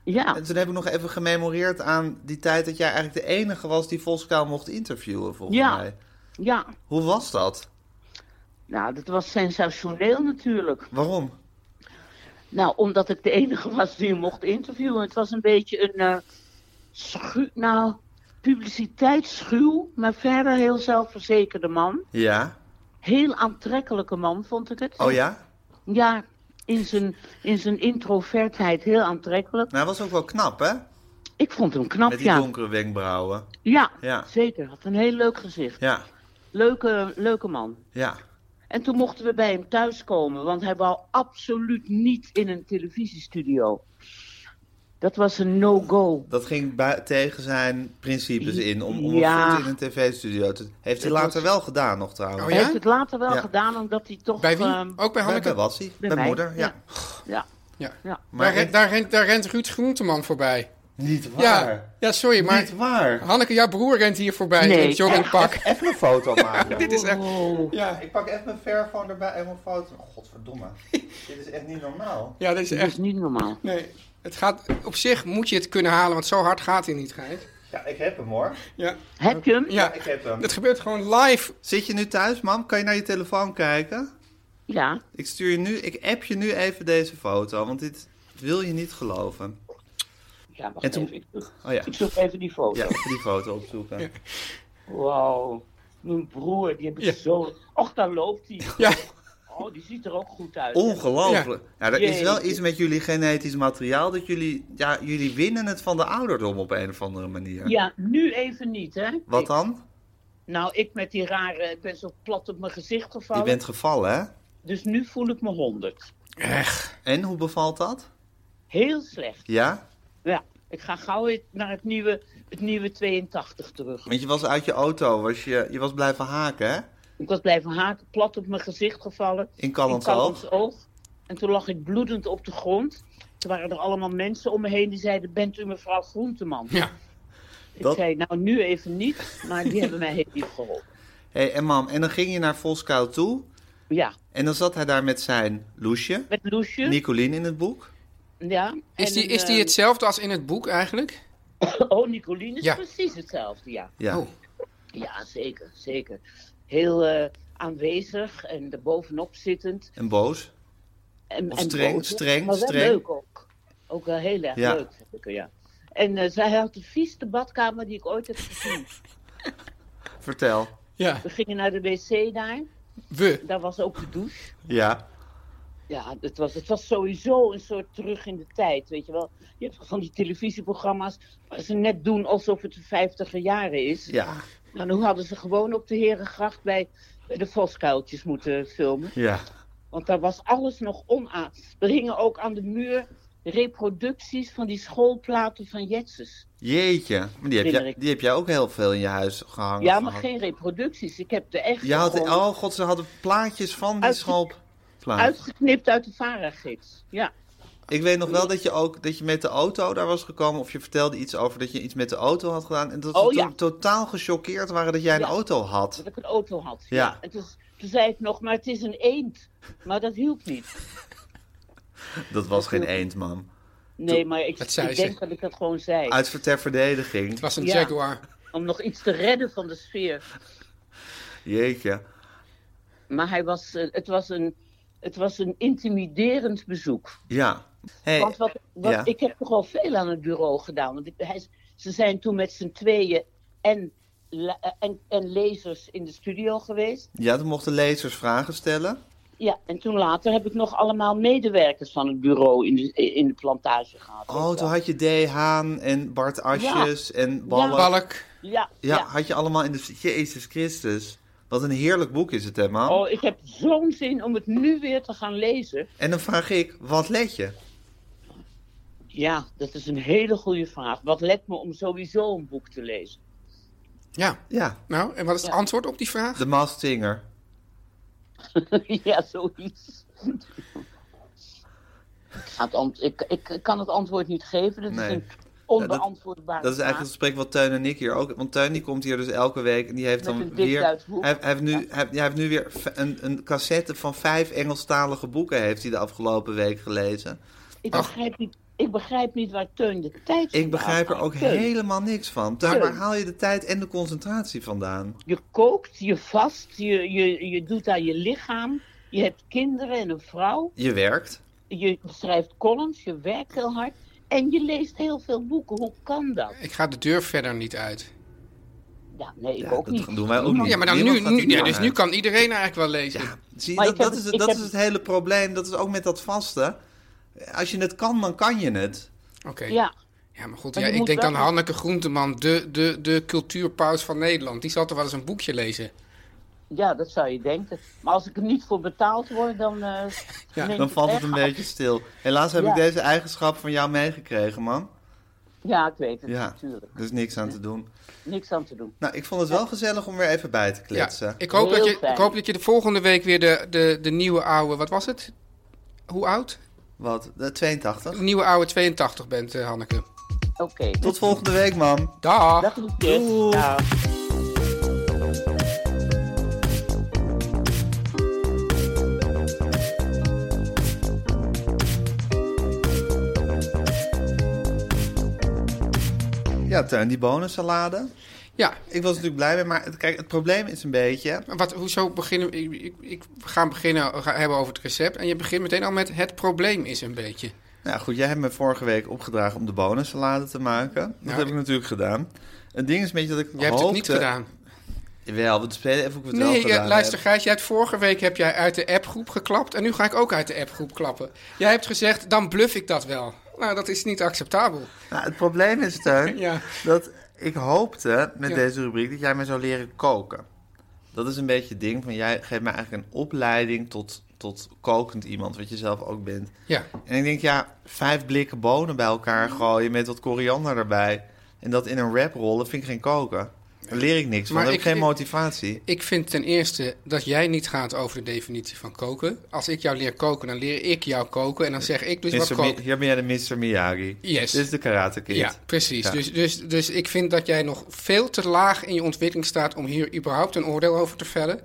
Speaker 6: Ja,
Speaker 2: En toen heb ik nog even gememoreerd aan die tijd dat jij eigenlijk de enige was die Voskou mocht interviewen, volgens
Speaker 6: Ja.
Speaker 2: mij.
Speaker 6: ja.
Speaker 2: Hoe was dat?
Speaker 6: Nou, dat was sensationeel natuurlijk.
Speaker 2: Waarom?
Speaker 6: Nou, omdat ik de enige was die hem mocht interviewen. Het was een beetje een eh schu- nou, publiciteitsschuw, maar verder heel zelfverzekerde man.
Speaker 2: Ja.
Speaker 6: Heel aantrekkelijke man, vond ik het.
Speaker 2: Oh ja?
Speaker 6: Ja, in zijn, in zijn introvertheid heel aantrekkelijk.
Speaker 2: Nou, hij was ook wel knap, hè?
Speaker 6: Ik vond hem knap,
Speaker 2: Met die
Speaker 6: ja.
Speaker 2: donkere wenkbrauwen.
Speaker 6: ja.
Speaker 2: Ja.
Speaker 6: zeker. Had een heel leuk gezicht.
Speaker 2: Ja,
Speaker 6: Leuke, leuke man.
Speaker 2: ja.
Speaker 6: En toen mochten we bij hem thuiskomen, want hij wou absoluut niet in een televisiestudio. Dat was een no-go.
Speaker 2: Dat ging bui- tegen zijn principes in om, om
Speaker 6: Ja.
Speaker 2: een voet in een tv-studio te... Heeft hij
Speaker 6: Het
Speaker 2: later
Speaker 6: was-
Speaker 2: wel gedaan nog trouwens.
Speaker 3: Oh,
Speaker 6: Hij
Speaker 3: ja?
Speaker 6: heeft het later wel
Speaker 2: Ja.
Speaker 6: gedaan, omdat hij toch...
Speaker 3: Bij wie?
Speaker 6: ehm,
Speaker 3: Ook bij
Speaker 2: Bij,
Speaker 3: Hanneke?
Speaker 2: bij Wassie, bij,
Speaker 6: mij.
Speaker 2: moeder, ja.
Speaker 6: Ja. ja.
Speaker 3: Ja.
Speaker 6: ja.
Speaker 3: Daar,
Speaker 2: Maar
Speaker 3: rent, daar, rent, daar rent Ruud Groenteman voorbij.
Speaker 2: niet
Speaker 3: Ja,
Speaker 2: waar.
Speaker 3: ja, sorry, maar
Speaker 2: Niet waar.
Speaker 3: Hanneke, jouw broer rent hier voorbij
Speaker 6: Nee,
Speaker 3: in een joggingpak.
Speaker 2: Even een foto maken.
Speaker 3: Dit is echt...
Speaker 6: Oh,
Speaker 2: Ja, ik pak even mijn verfoon erbij en mijn foto. Oh, godverdomme. Dit is echt niet normaal.
Speaker 3: Ja, dit is
Speaker 6: Dat
Speaker 3: echt...
Speaker 6: is niet normaal.
Speaker 3: Nee, het gaat... Op zich moet je het kunnen halen, want zo hard gaat hij niet, Gijs.
Speaker 2: Ja, ik heb hem hoor.
Speaker 3: Ja,
Speaker 6: Heb je hem?
Speaker 3: ja.
Speaker 2: ik heb hem.
Speaker 3: Het gebeurt gewoon live.
Speaker 2: Zit je nu thuis, mam? Kan je naar je telefoon kijken?
Speaker 6: Ja.
Speaker 2: Ik stuur je nu, ik app je nu even deze foto, want dit wil je niet geloven.
Speaker 6: Ja, wacht
Speaker 2: En toen-
Speaker 6: even. Ik zoek,
Speaker 2: Oh ja,
Speaker 6: ik zoek even die foto.
Speaker 2: ja even die foto opzoeken.
Speaker 6: Wauw, mijn broer, die heb ik
Speaker 3: Ja.
Speaker 6: zo... Och, daar loopt hij.
Speaker 3: Ja,
Speaker 6: Oh, die ziet er ook goed uit.
Speaker 2: Ongelooflijk. Ja, er is wel
Speaker 6: Jeetje.
Speaker 2: iets met jullie genetisch materiaal dat jullie, ja, jullie winnen het van de ouderdom op een of andere manier.
Speaker 6: Ja, nu even niet, hè.
Speaker 2: Wat
Speaker 6: Ik-
Speaker 2: dan?
Speaker 6: nou, ik met die rare... Ik ben zo plat op mijn gezicht
Speaker 2: Je
Speaker 6: gevallen.
Speaker 2: bent gevallen, hè?
Speaker 6: Dus nu voel ik me honderd.
Speaker 3: Echt?
Speaker 2: En hoe bevalt dat?
Speaker 6: Heel slecht.
Speaker 2: Ja?
Speaker 6: Ja, ik ga gauw weer naar het nieuwe, het nieuwe 82 terug.
Speaker 2: Want je was uit je auto, was je, je was blijven haken, hè?
Speaker 6: Ik was blijven haken, plat op mijn gezicht gevallen.
Speaker 2: In Callans
Speaker 6: In
Speaker 2: Oog.
Speaker 6: Oog. En toen lag ik bloedend op de grond. Toen waren er allemaal mensen om me heen die zeiden, bent u mevrouw Groenteman?
Speaker 3: Ja.
Speaker 2: Dat-
Speaker 6: Ik zei, nou nu even niet, maar die hebben mij heel lief geholpen.
Speaker 2: Hey, en mam, en dan ging je naar Voskou toe.
Speaker 6: Ja,
Speaker 2: En dan zat hij daar met zijn loesje,
Speaker 6: met Loesje.
Speaker 2: Nicolien in het boek.
Speaker 6: Ja,
Speaker 3: Is
Speaker 6: en
Speaker 3: die,
Speaker 6: een,
Speaker 3: is die
Speaker 6: eh,
Speaker 3: hetzelfde als in het boek eigenlijk?
Speaker 6: Oh, Nicolien is
Speaker 3: Ja.
Speaker 6: precies hetzelfde, ja.
Speaker 2: Ja.
Speaker 3: Oh.
Speaker 6: Ja, zeker, zeker. Heel eh, aanwezig en erbovenop zittend.
Speaker 2: En boos.
Speaker 6: En,
Speaker 2: Of
Speaker 6: en
Speaker 2: streng,
Speaker 6: boos,
Speaker 2: streng,
Speaker 6: maar wel
Speaker 2: streng.
Speaker 6: leuk ook. Ook wel heel erg
Speaker 2: Ja.
Speaker 6: leuk, vind ik, ja. En eh, zij had de vieste badkamer die ik ooit heb gezien.
Speaker 2: Vertel.
Speaker 3: Ja.
Speaker 6: We gingen naar de wc daar.
Speaker 3: We.
Speaker 6: Daar was ook de douche.
Speaker 2: Ja.
Speaker 6: Ja, het was, het was sowieso een soort terug in de tijd, weet je wel. Je hebt van die televisieprogramma's waar ze net doen alsof het de vijftiger jaren is.
Speaker 2: Ja.
Speaker 6: Nou, dan hadden ze gewoon op de Herengracht bij, bij de Voskuiltjes moeten filmen.
Speaker 2: Ja.
Speaker 6: Want daar was alles nog onaan. Er hingen ook aan de muur reproducties van die schoolplaten van Jetses.
Speaker 2: Jeetje. Maar die heb,
Speaker 6: Herinner
Speaker 2: jij,
Speaker 6: ik.
Speaker 2: die heb jij ook heel veel in je huis gehangen.
Speaker 6: Ja, maar
Speaker 2: gehad.
Speaker 6: geen reproducties. Ik heb de echte
Speaker 2: Oh, Je had,
Speaker 6: gewoon
Speaker 2: oh god, ze hadden plaatjes van die
Speaker 6: Uit-
Speaker 2: school.
Speaker 6: uitgeknipt uit de VARA-gids. Ja.
Speaker 2: Ik weet nog wel dat je ook dat je met de auto daar was gekomen. Of je vertelde iets over dat je iets met de auto had gedaan. En dat ze
Speaker 6: Oh,
Speaker 2: toen
Speaker 6: ja.
Speaker 2: totaal gechoqueerd waren dat jij een
Speaker 6: Ja.
Speaker 2: auto had.
Speaker 6: dat ik een auto had.
Speaker 2: Ja.
Speaker 6: En toen, toen zei ik nog, maar het is een eend. Maar dat hielp niet.
Speaker 2: Dat was geen eend, man.
Speaker 6: Nee, maar ik,
Speaker 3: dat zei
Speaker 6: ik
Speaker 3: ze.
Speaker 6: denk dat ik dat gewoon zei.
Speaker 2: Uit ver- ter verdediging.
Speaker 3: Het was een
Speaker 6: Ja.
Speaker 3: Jaguar.
Speaker 6: Om nog iets te redden van de sfeer.
Speaker 2: Jeetje.
Speaker 6: Maar hij was, eh, het, was een, het was een intimiderend bezoek.
Speaker 2: Ja. Hey,
Speaker 6: Want wat, wat,
Speaker 2: ja.
Speaker 6: ik heb toch al veel aan het bureau gedaan. Want ik, hij, ze zijn toen met z'n tweeën en, la- eh, en, en lezers in de studio geweest.
Speaker 2: ja, toen mochten lezers vragen stellen.
Speaker 6: Ja, en toen later heb ik nog allemaal medewerkers van het bureau in de, in de plantage gehad.
Speaker 2: Oh, toen had je D. Haan en Bart Asjes en Ballen. Ja,
Speaker 3: Balk.
Speaker 6: Ja, ja.
Speaker 2: had je allemaal in de... Jezus Christus. Wat een heerlijk boek is het, hè, man?
Speaker 6: Oh, ik heb zo'n zin om het nu weer te gaan lezen.
Speaker 2: En dan vraag ik, wat let je?
Speaker 6: Ja, dat is een hele goede vraag. Wat let me om sowieso een boek te lezen?
Speaker 3: Ja.
Speaker 2: Ja,
Speaker 3: Nou, en wat is het
Speaker 6: Ja.
Speaker 3: antwoord op die vraag?
Speaker 2: de Masked Singer.
Speaker 6: ja, zoiets. Het ant- ik, ik, ik kan het antwoord niet geven. Dat
Speaker 2: Nee.
Speaker 6: is een onbeantwoordbare
Speaker 2: Dat is eigenlijk het
Speaker 6: vraag.
Speaker 2: gesprek wat Teun en ik hier ook... Want Teun die komt hier dus elke week en die heeft
Speaker 6: Met
Speaker 2: dan
Speaker 6: een dik
Speaker 2: weer... Hij,
Speaker 6: Duits boek.
Speaker 2: hij heeft nu, hij, hij heeft nu weer v- een, een cassette van vijf Engelstalige boeken heeft hij de afgelopen week gelezen.
Speaker 6: Ik begrijp, niet, ik begrijp niet waar Teun de tijd
Speaker 2: Oh. Ik
Speaker 6: vandaan
Speaker 2: begrijp er
Speaker 6: haalt.
Speaker 2: ook
Speaker 6: Teun,
Speaker 2: helemaal niks van. Teun, waar
Speaker 6: Teun.
Speaker 2: haal je de tijd en de concentratie vandaan?
Speaker 6: Je kookt, je vast, je, je, je doet aan je lichaam. Je hebt kinderen en een vrouw.
Speaker 2: Je werkt.
Speaker 6: Je schrijft columns, je werkt heel hard. En je leest heel veel boeken. Hoe kan dat?
Speaker 3: Ik ga de deur verder niet uit.
Speaker 6: Ja, nee, ik
Speaker 2: Ja,
Speaker 6: ook
Speaker 2: dat
Speaker 6: niet.
Speaker 2: doen wij ook niet.
Speaker 3: Ja, maar dan
Speaker 2: Niemand
Speaker 3: nu,
Speaker 2: gaat die
Speaker 3: nu, ja,
Speaker 2: deur
Speaker 3: dus
Speaker 2: uit.
Speaker 3: nu kan iedereen eigenlijk wel lezen.
Speaker 2: Ja, zie,
Speaker 6: Maar
Speaker 2: dat,
Speaker 6: ik heb
Speaker 2: dat, is,
Speaker 6: het-
Speaker 2: het-
Speaker 6: ik
Speaker 2: dat
Speaker 6: heb
Speaker 2: is het hele probleem. Dat is ook met dat vaste. Als je het kan, dan kan je het.
Speaker 3: Oké.
Speaker 6: Ja,
Speaker 3: Ja, maar goed,
Speaker 6: Maar
Speaker 3: ja,
Speaker 6: je
Speaker 3: ik
Speaker 6: moet
Speaker 3: denk
Speaker 6: wel-
Speaker 3: aan Hanneke Groenteman, de, de, de cultuurpaus van Nederland. Die zal toch wel eens een boekje lezen.
Speaker 6: ja, dat zou je denken. Maar als ik er niet voor betaald word, dan. eh, neemt
Speaker 2: Dan valt het
Speaker 6: echt
Speaker 2: een
Speaker 6: af.
Speaker 2: beetje stil. Helaas heb
Speaker 6: Ja.
Speaker 2: ik deze eigenschap van jou meegekregen, man.
Speaker 6: Ja, ik weet het,
Speaker 2: Ja,
Speaker 6: natuurlijk.
Speaker 2: er is niks aan te doen.
Speaker 6: Niks aan te doen.
Speaker 2: Nou, ik vond het wel gezellig om weer even bij te kletsen.
Speaker 3: Ja, ik, hoop dat
Speaker 6: Heel
Speaker 3: je,
Speaker 6: fijn.
Speaker 3: ik hoop dat je de volgende week weer de, de, de nieuwe oude, wat was het? Hoe oud?
Speaker 2: Wat? De 82?
Speaker 3: Nieuwe oude 82 bent, eh, Hanneke.
Speaker 6: Oké. dus
Speaker 2: Tot volgende week, man.
Speaker 3: Dag!
Speaker 6: Dag, Lieke. Dag.
Speaker 2: Ja, Tuin, die bonensalade.
Speaker 3: Ja,
Speaker 2: Ik was natuurlijk blij mee, maar het- kijk, het probleem is een beetje...
Speaker 3: maar wat, hoezo beginnen we? Ik, ik, ik- we gaan beginnen we gaan hebben over het recept. En je begint meteen al met het probleem is een beetje.
Speaker 2: Nou goed, jij hebt me vorige week opgedragen om de bonensalade te maken. Dat
Speaker 3: Ja.
Speaker 2: heb ik natuurlijk gedaan. Het ding is een beetje dat ik
Speaker 3: Jij hebt het niet
Speaker 2: hoopte-
Speaker 3: gedaan.
Speaker 2: Jawel, we spelen even hoe ik het wel
Speaker 3: Nee,
Speaker 2: gedaan
Speaker 3: ja, luister
Speaker 2: heb.
Speaker 3: Gijs, jij hebt vorige week heb jij uit de appgroep geklapt en nu ga ik ook uit de appgroep klappen. Jij hebt gezegd, dan bluff ik dat wel. Nou, dat is niet acceptabel.
Speaker 2: Nou, het probleem is, Teun,
Speaker 3: Ja.
Speaker 2: dat ik hoopte met
Speaker 3: Ja.
Speaker 2: deze rubriek dat jij mij zou leren koken. Dat is een beetje het ding van, jij geeft mij eigenlijk een opleiding tot, tot kokend iemand, wat je zelf ook bent.
Speaker 3: Ja.
Speaker 2: En ik denk, ja, vijf blikken bonen bij elkaar gooien met wat koriander erbij. En dat in een wrap rollen vind ik geen koken. Daar leer ik niks van,
Speaker 3: Maar
Speaker 2: daar heb ik
Speaker 3: ik-
Speaker 2: geen motivatie.
Speaker 3: Ik vind ten eerste dat jij niet gaat over de definitie van koken. Als ik jou leer koken, dan leer ik jou koken. En dan zeg ik dus wat
Speaker 2: Mr. Mi-
Speaker 3: koken.
Speaker 2: hier ben jij de Mr. Miyagi.
Speaker 3: Yes.
Speaker 2: Dit is de Karate Kid.
Speaker 3: Ja, precies.
Speaker 2: Ja.
Speaker 3: Dus, dus, dus ik vind dat jij nog veel te laag in je ontwikkeling staat om hier überhaupt een oordeel over te vellen.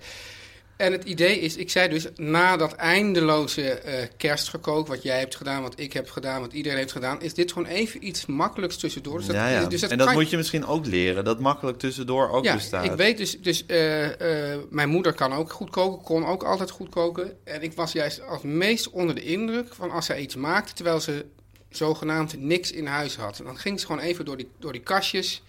Speaker 3: En het idee is, ik zei dus, na dat eindeloze eh kerstgekook, wat jij hebt gedaan, wat ik heb gedaan, wat iedereen heeft gedaan, is dit gewoon even iets makkelijks tussendoor. Dus dat,
Speaker 2: ja, ja.
Speaker 3: Dus
Speaker 2: en dat
Speaker 3: kan-
Speaker 2: moet je misschien ook leren, dat makkelijk tussendoor ook
Speaker 3: ja,
Speaker 2: bestaat.
Speaker 3: ik weet dus, dus eh, eh, mijn moeder kan ook goed koken, kon ook altijd goed koken. En ik was juist als meest onder de indruk van als zij iets maakte, terwijl ze zogenaamd niks in huis had. En dan ging ze gewoon even door die, door die kastjes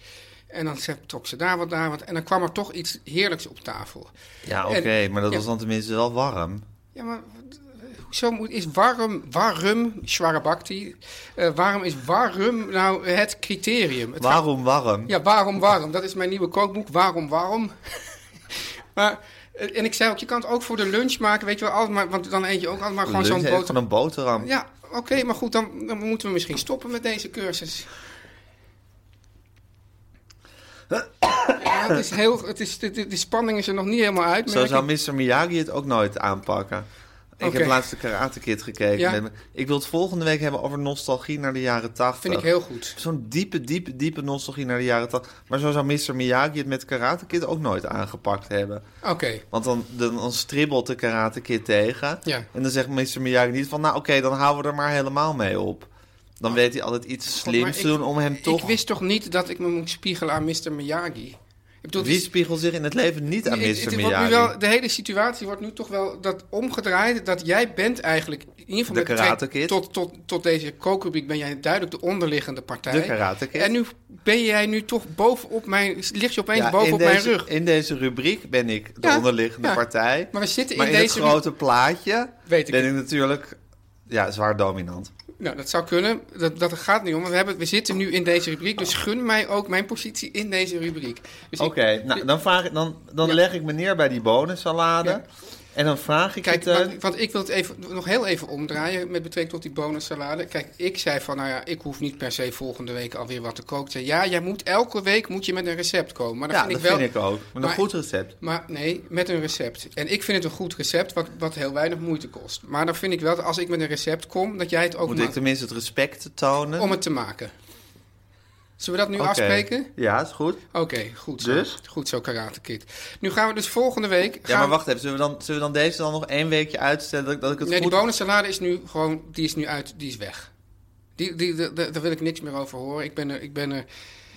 Speaker 3: en dan ze- trok ze daar wat, daar wat. En dan kwam er toch iets heerlijks op tafel.
Speaker 2: Ja,
Speaker 3: En-
Speaker 2: oké, maar dat
Speaker 3: ja.
Speaker 2: was dan tenminste wel warm.
Speaker 3: Ja, maar wat- hoezo moet, is warm, warm, Schwarabakti, eh waarom is warm nou het criterium? Het gaat-
Speaker 2: Waarom warm?
Speaker 3: Ja, waarom warm? Dat is mijn nieuwe kookboek, waarom warm? maar, eh, en ik zei ook, je kan het ook voor de lunch maken, weet je wel, altijd maar, want dan eet je ook altijd maar gewoon
Speaker 2: Lunch
Speaker 3: zo'n
Speaker 2: heeft
Speaker 3: boter.
Speaker 2: gewoon een boterham.
Speaker 3: Ja, oké, maar goed, dan, dan moeten we misschien stoppen met deze cursus. ja, het is heel, het is, de, de, de spanning is er nog niet helemaal uit.
Speaker 2: Zo
Speaker 3: merk
Speaker 2: zou
Speaker 3: ik.
Speaker 2: Mr. Miyagi het ook nooit aanpakken. Ik
Speaker 3: Oké.
Speaker 2: heb laatst de Karate Kid gekeken.
Speaker 3: Ja.
Speaker 2: met me. Ik wil het volgende week hebben over nostalgie naar de jaren 80.
Speaker 3: Vind ik heel goed.
Speaker 2: Zo'n diepe, diepe, diepe nostalgie naar de jaren 80. Maar zo zou Mr. Miyagi het met Karate Kid ook nooit aangepakt hebben.
Speaker 3: Oké,
Speaker 2: Want dan, dan, dan stribbelt de Karate Kid tegen.
Speaker 3: Ja.
Speaker 2: En dan zegt Mr. Miyagi niet van... Nou oké, dan houden we er maar helemaal mee op. Dan weet hij altijd iets
Speaker 3: Oh. God, maar
Speaker 2: slims te
Speaker 3: ik-
Speaker 2: doen om hem toch...
Speaker 3: ik wist toch niet dat ik me moet spiegelen aan Mr. Miyagi? Ik bedoel, het
Speaker 2: Wie
Speaker 3: is-
Speaker 2: spiegelt zich in het leven niet aan
Speaker 3: Het- het-
Speaker 2: Mr.
Speaker 3: het wordt nu
Speaker 2: Miyagi?
Speaker 3: wel, de hele situatie wordt nu toch wel dat omgedraaid. Dat jij bent eigenlijk, in ieder geval
Speaker 2: De
Speaker 3: met
Speaker 2: Karate
Speaker 3: betrekking
Speaker 2: Kid.
Speaker 3: tot, tot, tot deze kookrubriek ben jij duidelijk de onderliggende partij.
Speaker 2: De Karate Kid.
Speaker 3: En nu ben jij nu toch bovenop mijn, ligt je opeens
Speaker 2: Ja,
Speaker 3: bovenop
Speaker 2: in deze,
Speaker 3: mijn rug.
Speaker 2: In deze rubriek ben ik de
Speaker 3: Ja,
Speaker 2: onderliggende
Speaker 3: ja.
Speaker 2: partij.
Speaker 3: Maar we zitten in
Speaker 2: Maar in,
Speaker 3: deze-
Speaker 2: het grote plaatje
Speaker 3: Weet ik
Speaker 2: ben
Speaker 3: het.
Speaker 2: ik natuurlijk ja, zwaar dominant.
Speaker 3: Nou, dat zou kunnen. Dat, dat gaat niet om. want We, hebben, we zitten nu in deze rubriek, dus gun mij ook mijn positie in deze rubriek. Dus ik-
Speaker 2: Oké, nou, dan, vraag ik, dan, dan
Speaker 3: Ja.
Speaker 2: leg ik me neer bij die bonensalade.
Speaker 3: Ja.
Speaker 2: En dan vraag ik
Speaker 3: Kijk,
Speaker 2: het... eh,
Speaker 3: want, want ik wil het even, nog heel even omdraaien met betrekking tot die bonussalade. Kijk, ik zei van, nou ja, ik hoef niet per se volgende week alweer wat te koken. Zei, Ja, jij moet elke week moet je met een recept komen. Maar dan
Speaker 2: ja,
Speaker 3: vind
Speaker 2: dat
Speaker 3: ik wel,
Speaker 2: vind ik ook. Maar een
Speaker 3: maar-
Speaker 2: goed recept.
Speaker 3: Maar nee, met een recept. En ik vind het een goed recept wat, wat heel weinig moeite kost. Maar dan vind ik wel dat als ik met een recept kom, dat jij het ook
Speaker 2: Moet ik
Speaker 3: maakt
Speaker 2: tenminste het respect tonen?
Speaker 3: om het te maken. Zullen we dat nu
Speaker 2: Oké.
Speaker 3: afspreken?
Speaker 2: Ja, is goed.
Speaker 3: Oké, goed zo.
Speaker 2: Dus?
Speaker 3: Goed zo, Karate Kid. Nu gaan we dus volgende week...
Speaker 2: Ja,
Speaker 3: gaan
Speaker 2: maar
Speaker 3: we-
Speaker 2: wacht even. Zullen we dan, zullen we dan deze dan nog één weekje uitstellen? Dat, ik- dat ik het
Speaker 3: Nee,
Speaker 2: goed...
Speaker 3: die bonussalade is nu gewoon, die is nu uit, die is weg. Die, die, de- de- daar wil ik niks meer over horen. Ik ben er, ik ben er.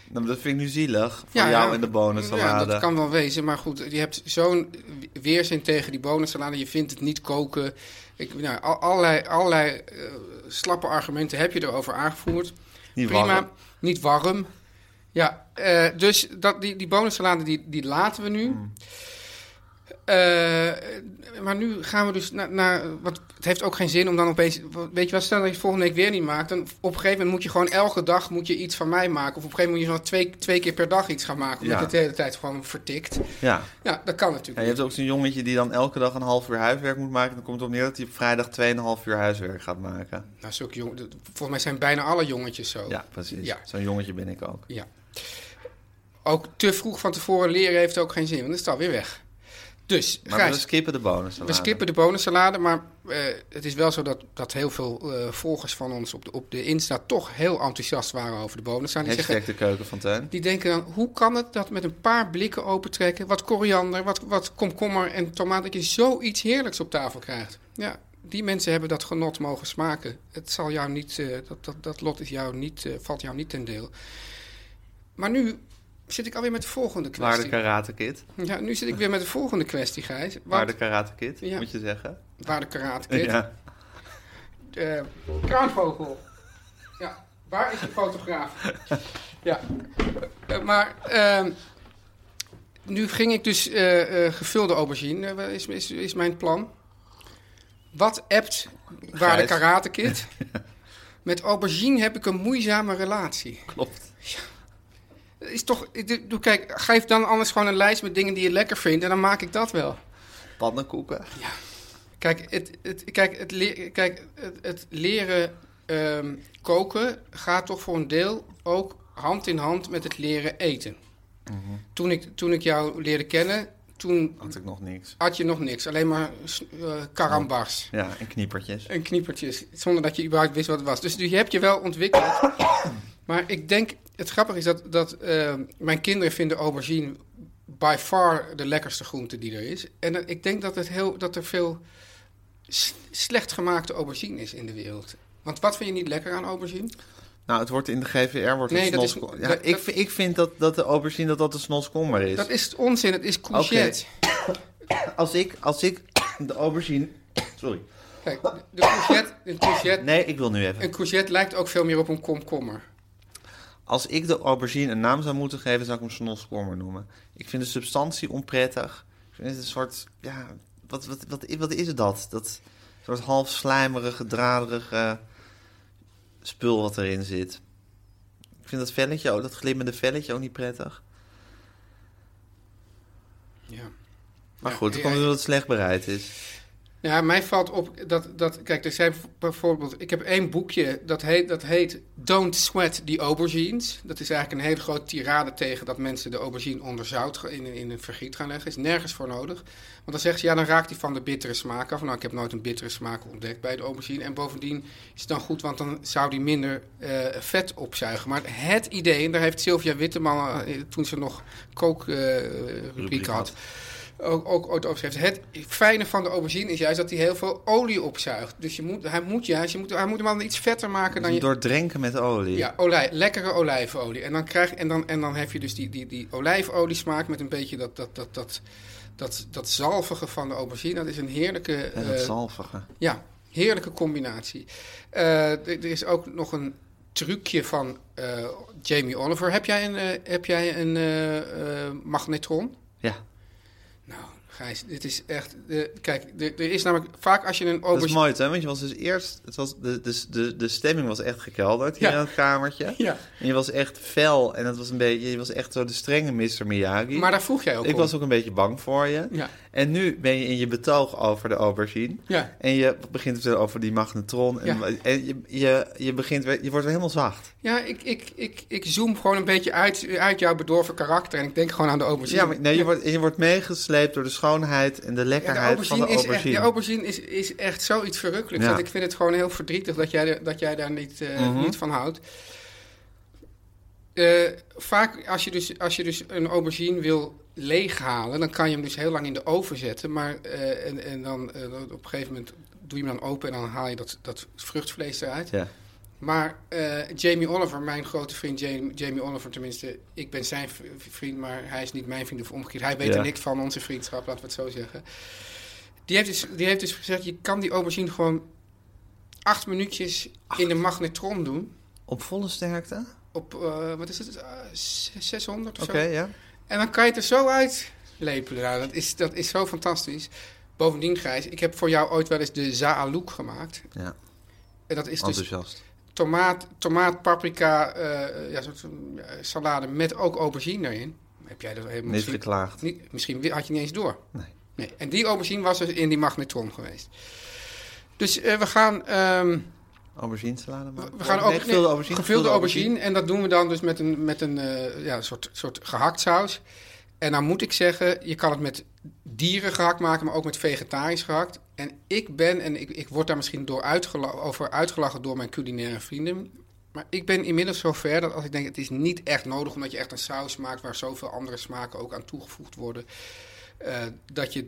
Speaker 2: Nou, dat vind ik nu zielig. Voor jou en de
Speaker 3: Ja,
Speaker 2: bonensalade.
Speaker 3: dat kan wel wezen, maar goed, je hebt zo'n weerzin tegen die bonussalade. Je vindt het niet koken. Ik, nou, al- allerlei, allerlei eh, slappe argumenten heb je erover aangevoerd.
Speaker 2: Niet
Speaker 3: Prima,
Speaker 2: warm.
Speaker 3: niet warm. Ja, eh, dus dat, die, die bonussalade die, die laten we nu.
Speaker 2: Mm.
Speaker 3: Eh, maar nu gaan we dus naar, naar... Want het heeft ook geen zin om dan opeens... Weet je wel, stel dat je het volgende week weer niet maakt... dan op een gegeven moment moet je gewoon elke dag moet je iets van mij maken. Of op een gegeven moment moet je gewoon twee, twee keer per dag iets gaan maken... omdat
Speaker 2: Ja.
Speaker 3: het de hele tijd gewoon vertikt.
Speaker 2: Ja.
Speaker 3: Ja, dat kan
Speaker 2: Ja,
Speaker 3: natuurlijk
Speaker 2: je hebt ook zo'n jongetje die dan elke dag een half uur huiswerk moet maken. Dan komt het op neer dat hij op vrijdag 2,5 uur huiswerk gaat maken.
Speaker 3: niet. Nou, zulke jong, dat- volgens mij zijn bijna alle jongetjes zo.
Speaker 2: Ja, precies.
Speaker 3: Ja.
Speaker 2: Zo'n jongetje ben ik ook.
Speaker 3: Ja. Ook te vroeg van tevoren leren heeft ook geen zin, want dan is het alweer weg. Dus,
Speaker 2: Maar
Speaker 3: Gijs,
Speaker 2: we skippen de bonus.
Speaker 3: we skippen de bonensalade, maar eh, het is wel zo dat, dat heel veel eh, volgers van ons op de, op de Insta toch heel enthousiast waren over de bonensalade. Die,
Speaker 2: Hashtag
Speaker 3: zeggen,
Speaker 2: de keuken van Teun.
Speaker 3: die denken dan, hoe kan het dat met een paar blikken opentrekken, wat koriander, wat, wat komkommer en tomaat, dat je zoiets heerlijks op tafel krijgt. Ja, die mensen hebben dat genot mogen smaken. Het zal jou niet, eh, dat, dat, dat lot is jou niet, eh, valt jou niet ten deel. Maar nu zit ik alweer met de volgende
Speaker 2: Waar de
Speaker 3: kwestie.
Speaker 2: Karate Kid.
Speaker 3: Ja, nu zit ik weer met de volgende kwestie, Gijs. Want-
Speaker 2: Waar de Karate Kid,
Speaker 3: Ja.
Speaker 2: moet je zeggen.
Speaker 3: waar de Karate Kid.
Speaker 2: Ja.
Speaker 3: eh, kraanvogel. Ja, waar is de fotograaf? ja, Eh, maar ehm, nu ging ik dus eh, eh, gevulde aubergine, eh, wel is, is, is mijn plan. Wat appt waar de
Speaker 2: Gijs.
Speaker 3: Karate Kid? Met aubergine heb ik een moeizame relatie.
Speaker 2: Klopt.
Speaker 3: Is toch, ik doe- doe- kijk, geef dan anders gewoon een lijst met dingen die je lekker vindt en dan maak ik dat wel.
Speaker 2: Pannenkoeken.
Speaker 3: Kijk, het, het, kijk, het, le- kijk, het, het leren ehm, koken gaat toch voor een deel ook hand in hand met het leren eten. Toen, ik, toen ik jou leerde kennen, toen
Speaker 2: Had ik nog niks.
Speaker 3: had je nog niks. Alleen maar s- eh, karambars
Speaker 2: Ja, en kniepertjes.
Speaker 3: en kniepertjes. Zonder dat je überhaupt wist wat het was. Dus je hebt je wel ontwikkeld. Maar ik denk, het grappige is dat, dat eh, mijn kinderen vinden aubergine by far de lekkerste groente die er is. En dat- ik denk dat, het heel, dat er veel s- slecht gemaakte aubergine is in de wereld. Want wat vind je niet lekker aan aubergine?
Speaker 2: Nou, het wordt in de GVR wordt
Speaker 3: Nee,
Speaker 2: het
Speaker 3: dat is-
Speaker 2: snoskomer. Ja,
Speaker 3: dat-
Speaker 2: ik,
Speaker 3: dat-
Speaker 2: vind- ik vind dat, dat de aubergine dat dat de snoskomer is.
Speaker 3: Dat is onzin, het is courgette.
Speaker 2: Als, ik, als ik de aubergine... Sorry.
Speaker 3: Kijk, de courgette, een, courgette,
Speaker 2: Nee, ik wil nu even.
Speaker 3: een courgette lijkt ook veel meer op een komkommer.
Speaker 2: Als ik de aubergine een naam zou moeten geven, zou ik hem snoskomer noemen. Ik vind de substantie onprettig. Ik vind het een soort... Ja, wat, wat, wat, wat is dat? Dat soort half slijmerige, draderige spul wat erin zit. Ik vind dat velletje, ook- dat glimmende velletje ook niet prettig.
Speaker 3: Ja.
Speaker 2: Maar
Speaker 3: Ja,
Speaker 2: goed, dat
Speaker 3: ja,
Speaker 2: komt
Speaker 3: ja.
Speaker 2: omdat het slecht bereid is.
Speaker 3: Nou Ja, mij valt op dat, dat kijk, er zijn bijvoorbeeld, ik heb één boekje dat heet, dat heet Don't Sweat the Aubergines. Dat is eigenlijk een hele grote tirade tegen dat mensen de aubergine onder zout ge- in, in een vergiet gaan leggen. Is nergens voor nodig. Want dan zegt ze, ja, dan raakt die van de bittere smaak af. Nou, ik heb nooit een bittere smaak ontdekt bij de aubergine. En bovendien is het dan goed, want dan zou die minder eh, vet opzuigen. Maar het idee, en daar heeft Sylvia Witteman, eh, toen ze nog kookrubriek
Speaker 2: Rubriek
Speaker 3: had,
Speaker 2: had.
Speaker 3: ook, ook ooit over heeft. Het fijne van de aubergine is juist dat hij heel veel olie opzuigt. Dus je moet, hij moet juist, je moet, hij moet hem dan iets vetter maken dan je...
Speaker 2: Dus Door drenken met olie.
Speaker 3: Ja, olij, lekkere olijfolie. En dan, krijg, en dan, en dan heb je dus die, die, die olijfoliesmaak met een beetje dat, dat, dat, dat, dat, dat zalvige van de aubergine. Dat is een heerlijke...
Speaker 2: En dat
Speaker 3: eh,
Speaker 2: zalvige.
Speaker 3: ja, heerlijke combinatie. Eh, d- er is ook nog een trucje van eh, Jamie Oliver. Heb jij een, eh, heb jij een eh, eh, magnetron?
Speaker 2: Ja,
Speaker 3: Nou, Gijs, dit is echt. de- kijk, er er is namelijk vaak als je een
Speaker 2: dat is
Speaker 3: aubergine.
Speaker 2: mooi, hè? Want je was dus eerst... Het was de, de, de, de stemming was echt gekelderd hier
Speaker 3: Ja.
Speaker 2: in het kamertje.
Speaker 3: Ja.
Speaker 2: En je was echt fel en het was een beetje... Je was echt zo de strenge Mr. Miyagi.
Speaker 3: Maar daar vroeg jij ook
Speaker 2: Ik
Speaker 3: om.
Speaker 2: was ook een beetje bang voor je.
Speaker 3: Ja.
Speaker 2: En nu ben je in je betoog over de aubergine.
Speaker 3: Ja.
Speaker 2: En je begint te vertellen over die magnetron. En,
Speaker 3: Ja.
Speaker 2: en je, je, je, begint, weer- je wordt weer helemaal zacht.
Speaker 3: Ja, ik, ik, ik, ik zoom gewoon een beetje uit, uit jouw bedorven karakter. En ik denk gewoon aan de aubergine.
Speaker 2: Dus Ja, maar nee, je, wordt, je wordt meegesleept door de schoonheid en de
Speaker 3: Ja, de
Speaker 2: lekkerheid van de
Speaker 3: aubergine, is
Speaker 2: aubergine.
Speaker 3: echt, de aubergine is, is echt zoiets verrukkelijks.
Speaker 2: Ja.
Speaker 3: Want ik vind het gewoon heel verdrietig dat jij, er- dat jij daar niet, eh, niet van houdt. Eh, vaak als je, dus, als je dus een aubergine wil leeghalen, dan kan je hem dus heel lang in de oven zetten. Maar eh, en, en dan, eh, dan op een gegeven moment doe je hem dan open en dan haal je dat, dat vruchtvlees eruit.
Speaker 2: Ja.
Speaker 3: Maar eh, Jamie Oliver, mijn grote vriend Jamie, Jamie Oliver, tenminste, ik ben zijn v- vriend, maar hij is niet mijn vriend of omgekeerd. Hij weet
Speaker 2: Ja.
Speaker 3: er niks van onze vriendschap, laten we het zo zeggen. Die heeft dus, die heeft dus gezegd: je kan die aubergine gewoon acht minuutjes in de magnetron doen.
Speaker 2: Op volle sterkte? Oké,
Speaker 3: Op, eh, wat is het, Eh, zes- 600 of zo.
Speaker 2: ja.
Speaker 3: En dan kan je het er zo uitlepelen. Nou, dat, is, dat is zo fantastisch. Bovendien, Grijs, ik heb voor jou ooit wel eens de Zaalouk gemaakt.
Speaker 2: Ja,
Speaker 3: En dat
Speaker 2: Oh,
Speaker 3: is dus
Speaker 2: enthousiast.
Speaker 3: tomaat, tomaat paprika, eh, ja, soort eh, salade met ook aubergine erin. Heb jij dat helemaal
Speaker 2: Niet
Speaker 3: misschien,
Speaker 2: geklaagd.
Speaker 3: niet- misschien had je niet eens door.
Speaker 2: Nee.
Speaker 3: Nee. En die aubergine was dus in die magnetron geweest. Dus eh, we gaan, ehm,
Speaker 2: Aubergine salade maken?
Speaker 3: we gaan
Speaker 2: Nee,
Speaker 3: ook
Speaker 2: gevulde aubergine.
Speaker 3: gevulde aubergine. En dat doen we dan dus met een, met een eh, ja, soort, soort gehakt saus. En dan moet ik zeggen, je kan het met dieren gehakt maken, maar ook met vegetarisch gehakt. En ik ben, en ik, ik word daar misschien door uitgela- over uitgelachen door mijn culinaire vrienden. Maar ik ben inmiddels zover dat als ik denk, het is niet echt nodig, omdat je echt een saus maakt waar zoveel andere smaken ook aan toegevoegd worden. eh, dat je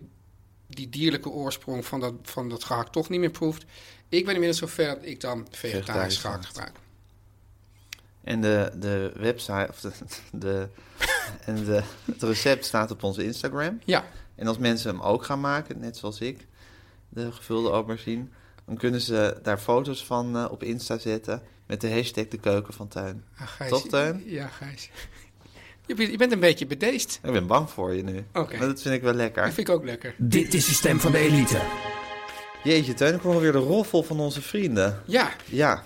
Speaker 3: die dierlijke oorsprong van dat, van dat gehakt toch niet meer proeft. Ik ben inmiddels zover dat ik dan vegetarisch
Speaker 2: Vegetarisch
Speaker 3: gehakt
Speaker 2: gehakt.
Speaker 3: gebruik.
Speaker 2: En de, de website, of de, de, en de, het recept staat op onze Instagram.
Speaker 3: Ja,
Speaker 2: En als mensen hem ook gaan maken, net zoals ik, de gevulde aubergine, dan kunnen ze daar foto's van eh, op Insta zetten met de hashtag de keuken van tuin.
Speaker 3: Ah, Gijs.
Speaker 2: Toch, Teun?
Speaker 3: Ja, Gijs. Je, bent- je bent een beetje bedeesd.
Speaker 2: Ik ben bang voor je nu.
Speaker 3: Oké.
Speaker 2: Maar dat vind ik wel lekker.
Speaker 3: Dat vind ik ook lekker.
Speaker 4: Dit is de stem van de elite.
Speaker 2: Jeetje, Teun, ik hoor alweer de roffel van onze vrienden.
Speaker 3: Ja,
Speaker 2: Ja,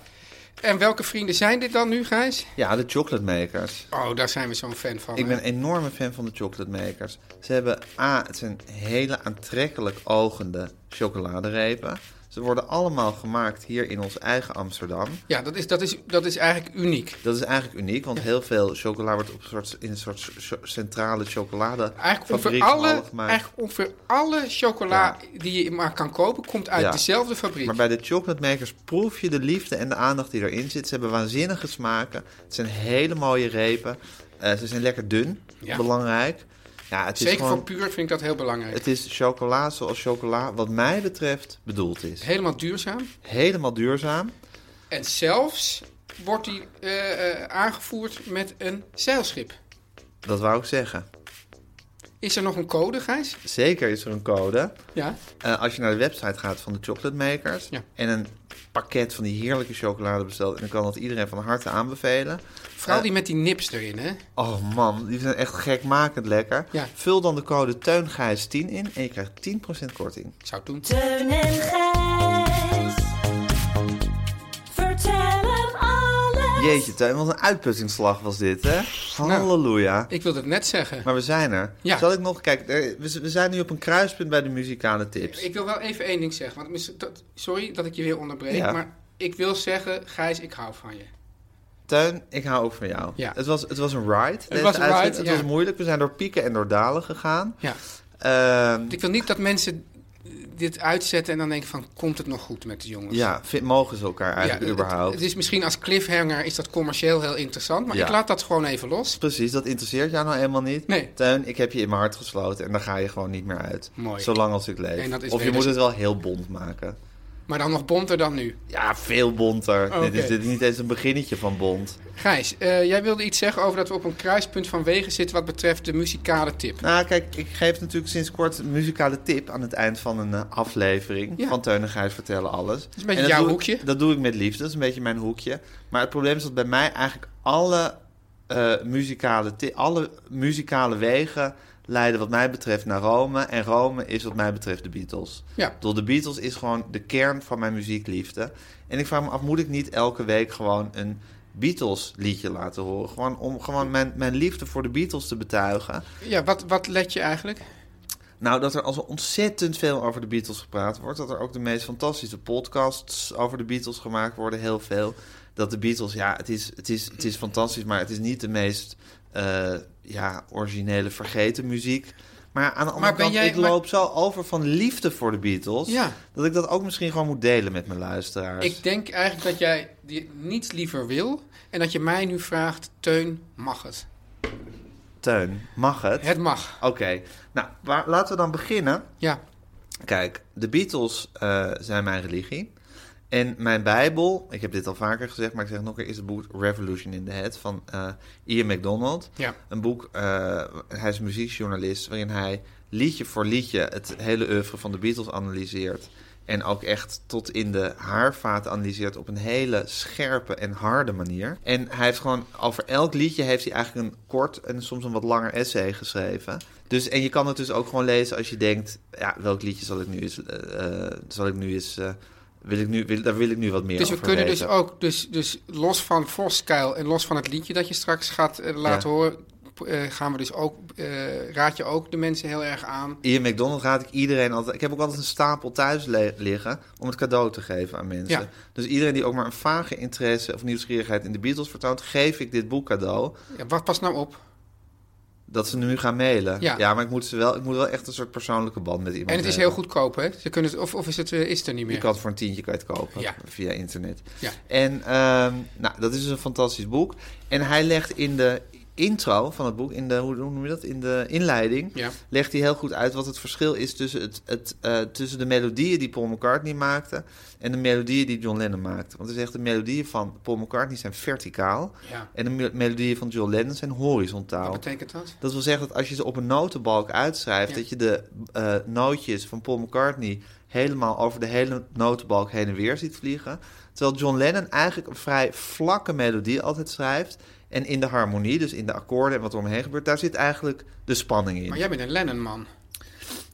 Speaker 3: En welke vrienden zijn dit dan nu, Gijs?
Speaker 2: Ja, de chocolate makers.
Speaker 3: Oh, daar zijn we zo'n fan van.
Speaker 2: Ik
Speaker 3: hè?
Speaker 2: ben een enorme fan van de chocolate makers. Ze hebben A, het zijn hele aantrekkelijk ogende chocoladerepen. Ze worden allemaal gemaakt hier in ons eigen Amsterdam.
Speaker 3: Ja, dat is, dat, is, dat is eigenlijk uniek.
Speaker 2: Dat is eigenlijk uniek, want heel veel chocola wordt op een soort, in een soort cho- centrale chocolade.
Speaker 3: Eigenlijk ongeveer,
Speaker 2: fabriek
Speaker 3: alle,
Speaker 2: al gemaakt.
Speaker 3: eigenlijk ongeveer alle chocola die je maar kan kopen, komt uit
Speaker 2: Ja.
Speaker 3: dezelfde fabriek.
Speaker 2: Maar bij de chocolate makers proef je de liefde en de aandacht die erin zit. Ze hebben waanzinnige smaken. Het zijn hele mooie repen. Eh, ze zijn lekker dun,
Speaker 3: Ja.
Speaker 2: belangrijk. Ja, het
Speaker 3: Zeker
Speaker 2: is gewoon,
Speaker 3: voor puur vind ik dat heel belangrijk.
Speaker 2: Het is chocola zoals chocola, wat mij betreft, bedoeld is.
Speaker 3: Helemaal duurzaam.
Speaker 2: Helemaal duurzaam.
Speaker 3: En zelfs wordt die eh, eh, aangevoerd met een zeilschip.
Speaker 2: Dat wou ik zeggen.
Speaker 3: Is er nog een code, Gijs?
Speaker 2: Zeker is er een code.
Speaker 3: Ja.
Speaker 2: Eh, als je naar de website gaat van de chocolate makers
Speaker 3: Ja.
Speaker 2: en een pakket van die heerlijke chocolade bestelt, en ik kan dat iedereen van harte aanbevelen.
Speaker 3: Vooral
Speaker 2: Eh,
Speaker 3: die met die nips erin, hè?
Speaker 2: Oh man, die zijn echt gekmakend lekker.
Speaker 3: Ja.
Speaker 2: Vul dan de code TEUNGIJS10 in en je krijgt 10% korting.
Speaker 3: Ik zou het doen.
Speaker 5: Teun en Gijs. Vertel hem alles.
Speaker 2: Jeetje Teun, wat een uitputtingsslag was dit hè. Halleluja.
Speaker 3: Ik wilde het net zeggen.
Speaker 2: Maar we zijn er.
Speaker 3: Nou. Ja.
Speaker 2: Zal ik nog... Kijk, eh, we z- we zijn nu op een kruispunt bij de muzikale tips.
Speaker 3: Ik wil wel even één ding zeggen. Want mis- dat- sorry dat ik je weer onderbreek.
Speaker 2: Ja.
Speaker 3: Maar ik wil zeggen, Gijs, ik hou van je.
Speaker 2: Teun, ik hou ook van jou.
Speaker 3: Ja.
Speaker 2: Het, was, het was een ride. deze
Speaker 3: was een
Speaker 2: uitzending.
Speaker 3: ride,
Speaker 2: Het
Speaker 3: ja.
Speaker 2: was moeilijk. We zijn door pieken en door dalen gegaan.
Speaker 3: Ja.
Speaker 2: Ehm,
Speaker 3: Ik wil niet dat mensen eh, dit uitzetten en dan denken van... komt het nog goed met de jongens?
Speaker 2: ja, vind- mogen ze elkaar eigenlijk
Speaker 3: het-
Speaker 2: überhaupt?
Speaker 3: Het, is misschien als cliffhanger is dat commercieel heel interessant. Maar
Speaker 2: Ja.
Speaker 3: ik laat dat gewoon even los.
Speaker 2: Precies, dat interesseert jou nou eenmaal niet.
Speaker 3: Nee.
Speaker 2: Teun, ik heb je in mijn hart gesloten en daar ga je gewoon niet meer uit.
Speaker 3: Mooi.
Speaker 2: Zolang als ik leef.
Speaker 3: En dat is dus-
Speaker 2: of je
Speaker 3: weder-
Speaker 2: moet het wel heel bont maken.
Speaker 3: Maar dan nog bonter dan nu.
Speaker 2: Ja, veel bonter.
Speaker 3: Oh, Oké.
Speaker 2: Dit, is, dit is niet eens een beginnetje van bont.
Speaker 3: Gijs, eh, jij wilde iets zeggen over dat we op een kruispunt van wegen zitten... wat betreft de muzikale tip.
Speaker 2: Nou, kijk, ik geef natuurlijk sinds kort een muzikale tip aan het eind van een eh, aflevering.
Speaker 3: Ja.
Speaker 2: Van Teun en Gijs vertellen alles. Dat
Speaker 3: is een beetje jouw hoekje.
Speaker 2: dat doe ik met liefde, dat is een beetje mijn hoekje. Maar het probleem is dat bij mij eigenlijk alle, eh, muzikale, ti- alle muzikale wegen leiden wat mij betreft naar Rome. En Rome is wat mij betreft de Beatles.
Speaker 3: Ja.
Speaker 2: Ik bedoel, de Beatles is gewoon de kern van mijn muziekliefde. En ik vraag me af, moet ik niet elke week gewoon een Beatles liedje laten horen? Gewoon om gewoon mijn, mijn liefde voor de Beatles te betuigen.
Speaker 3: Ja, wat, wat let je eigenlijk?
Speaker 2: Nou, dat er als ontzettend veel over de Beatles gepraat wordt. Dat er ook de meest fantastische podcasts over de Beatles gemaakt worden, heel veel. Dat de Beatles, ja, het is, het is, het is fantastisch, maar het is niet de meest eh, ja, originele vergeten muziek. Maar aan de andere
Speaker 3: Maar ben
Speaker 2: kant,
Speaker 3: jij-
Speaker 2: ik loop zo over van liefde voor de Beatles...
Speaker 3: Ja.
Speaker 2: dat ik dat ook misschien gewoon moet delen met mijn luisteraars.
Speaker 3: Ik denk eigenlijk dat jij die niets liever wil... en dat je mij nu vraagt, Teun, mag het?
Speaker 2: Teun, mag het?
Speaker 3: Het mag,
Speaker 2: Oké, nou, waar- laten we dan beginnen...
Speaker 3: ja.
Speaker 2: Kijk, de Beatles eh, zijn mijn religie. En mijn Bijbel, ik heb dit al vaker gezegd, maar ik zeg het nog een keer, is het boek Revolution in the Head van eh, Ian MacDonald.
Speaker 3: Ja.
Speaker 2: Een boek, eh, hij is muziekjournalist, waarin hij liedje voor liedje het hele oeuvre van de Beatles analyseert. En ook echt tot in de haarvaten analyseert op een hele scherpe en harde manier. En hij heeft gewoon over elk liedje heeft hij eigenlijk een kort en soms een wat langer essay geschreven. Dus, en je kan het dus ook gewoon lezen als je denkt, ja, welk liedje zal ik nu eens, eh, eh, zal ik nu eens, eh, wil ik nu, wil, daar wil ik nu wat meer
Speaker 3: Dus we
Speaker 2: over
Speaker 3: kunnen dus
Speaker 2: weten.
Speaker 3: ook, dus, dus los van Voskuil en los van het liedje dat je straks gaat eh, laten
Speaker 2: Ja.
Speaker 3: horen, p- eh, gaan we dus ook, eh, raad je ook de mensen heel erg aan.
Speaker 2: Ian McDonald raad ik iedereen altijd. Ik heb ook altijd een stapel thuis le- liggen om het cadeau te geven aan mensen.
Speaker 3: Ja.
Speaker 2: Dus iedereen die ook maar een vage interesse of nieuwsgierigheid in de Beatles vertoont, geef ik dit boek cadeau.
Speaker 3: Ja, wat pas nou op?
Speaker 2: Dat ze nu gaan mailen.
Speaker 3: Ja.
Speaker 2: maar ik moet, ze wel, ik moet wel echt een soort persoonlijke band met iemand
Speaker 3: En het is heel
Speaker 2: hebben.
Speaker 3: goedkoop, hè? Ze kunnen het, of, of is het, eh, is het er niet
Speaker 2: eh, Je
Speaker 3: meer?
Speaker 2: kan het voor een tientje kwijt kopen
Speaker 3: Ja.
Speaker 2: via internet.
Speaker 3: Ja.
Speaker 2: En ehm, nou, dat is dus een fantastisch boek. En hij legt in de intro van het boek, in de, hoe hoe noem je dat? In de inleiding,
Speaker 3: Ja.
Speaker 2: legt hij heel goed uit wat het verschil is tussen, het, het, eh, tussen de melodieën die Paul McCartney maakte en de melodieën die John Lennon maakte. Want hij zegt de melodieën van Paul McCartney zijn verticaal
Speaker 3: Ja.
Speaker 2: en de me- melodieën van John Lennon zijn horizontaal.
Speaker 3: Wat betekent dat?
Speaker 2: Dat wil zeggen dat als je ze op een notenbalk uitschrijft,
Speaker 3: Ja.
Speaker 2: dat je de eh, nootjes van Paul McCartney helemaal over de hele notenbalk heen en weer ziet vliegen. Terwijl John Lennon eigenlijk een vrij vlakke melodie altijd schrijft. En in de harmonie, dus in de akkoorden en wat er omheen gebeurt, daar zit eigenlijk de spanning in.
Speaker 3: Maar jij bent een Lennon-man.
Speaker 2: Ik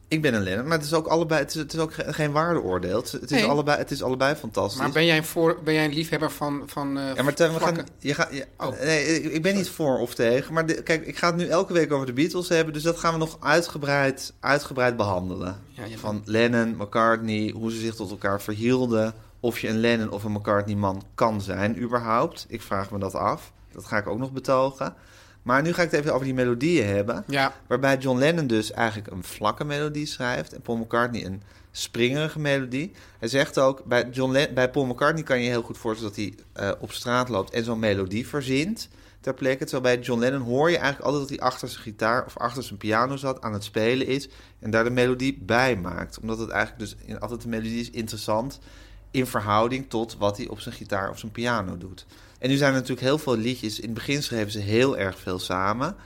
Speaker 2: Ik ben een Lennon, maar het is ook, allebei, het is, het is ook ge- geen waardeoordeel. Het is, het is
Speaker 3: Nee.
Speaker 2: allebei, het is allebei fantastisch.
Speaker 3: Maar ben jij, een voor, ben jij een liefhebber van, van eh,
Speaker 2: Ja, maar Teun, we gaan,
Speaker 3: vlakken?
Speaker 2: je gaat, je-
Speaker 3: Oh.
Speaker 2: nee, ik, ik ben niet voor of tegen. Maar de- kijk, ik ga het nu elke week over de Beatles hebben. Dus dat gaan we nog uitgebreid, uitgebreid behandelen.
Speaker 3: Ja, je
Speaker 2: Van Lennon, McCartney, hoe ze zich tot elkaar verhielden. Of je een Lennon of een McCartney-man kan zijn, überhaupt. Ik vraag me dat af. Dat ga ik ook nog betogen. Maar nu ga ik het even over die melodieën hebben.
Speaker 3: Ja.
Speaker 2: Waarbij John Lennon dus eigenlijk een vlakke melodie schrijft en Paul McCartney een springerige melodie. Hij zegt ook, bij, John Len- bij Paul McCartney kan je heel goed voorstellen dat hij eh, op straat loopt en zo'n melodie verzint ter plekke. Terwijl bij John Lennon hoor je eigenlijk altijd dat hij achter zijn gitaar of achter zijn piano zat aan het spelen is en daar de melodie bij maakt. Omdat het eigenlijk dus in, altijd de melodie is interessant in verhouding tot wat hij op zijn gitaar of zijn piano doet. En nu zijn er natuurlijk heel veel liedjes. In het begin schreven ze heel erg veel samen.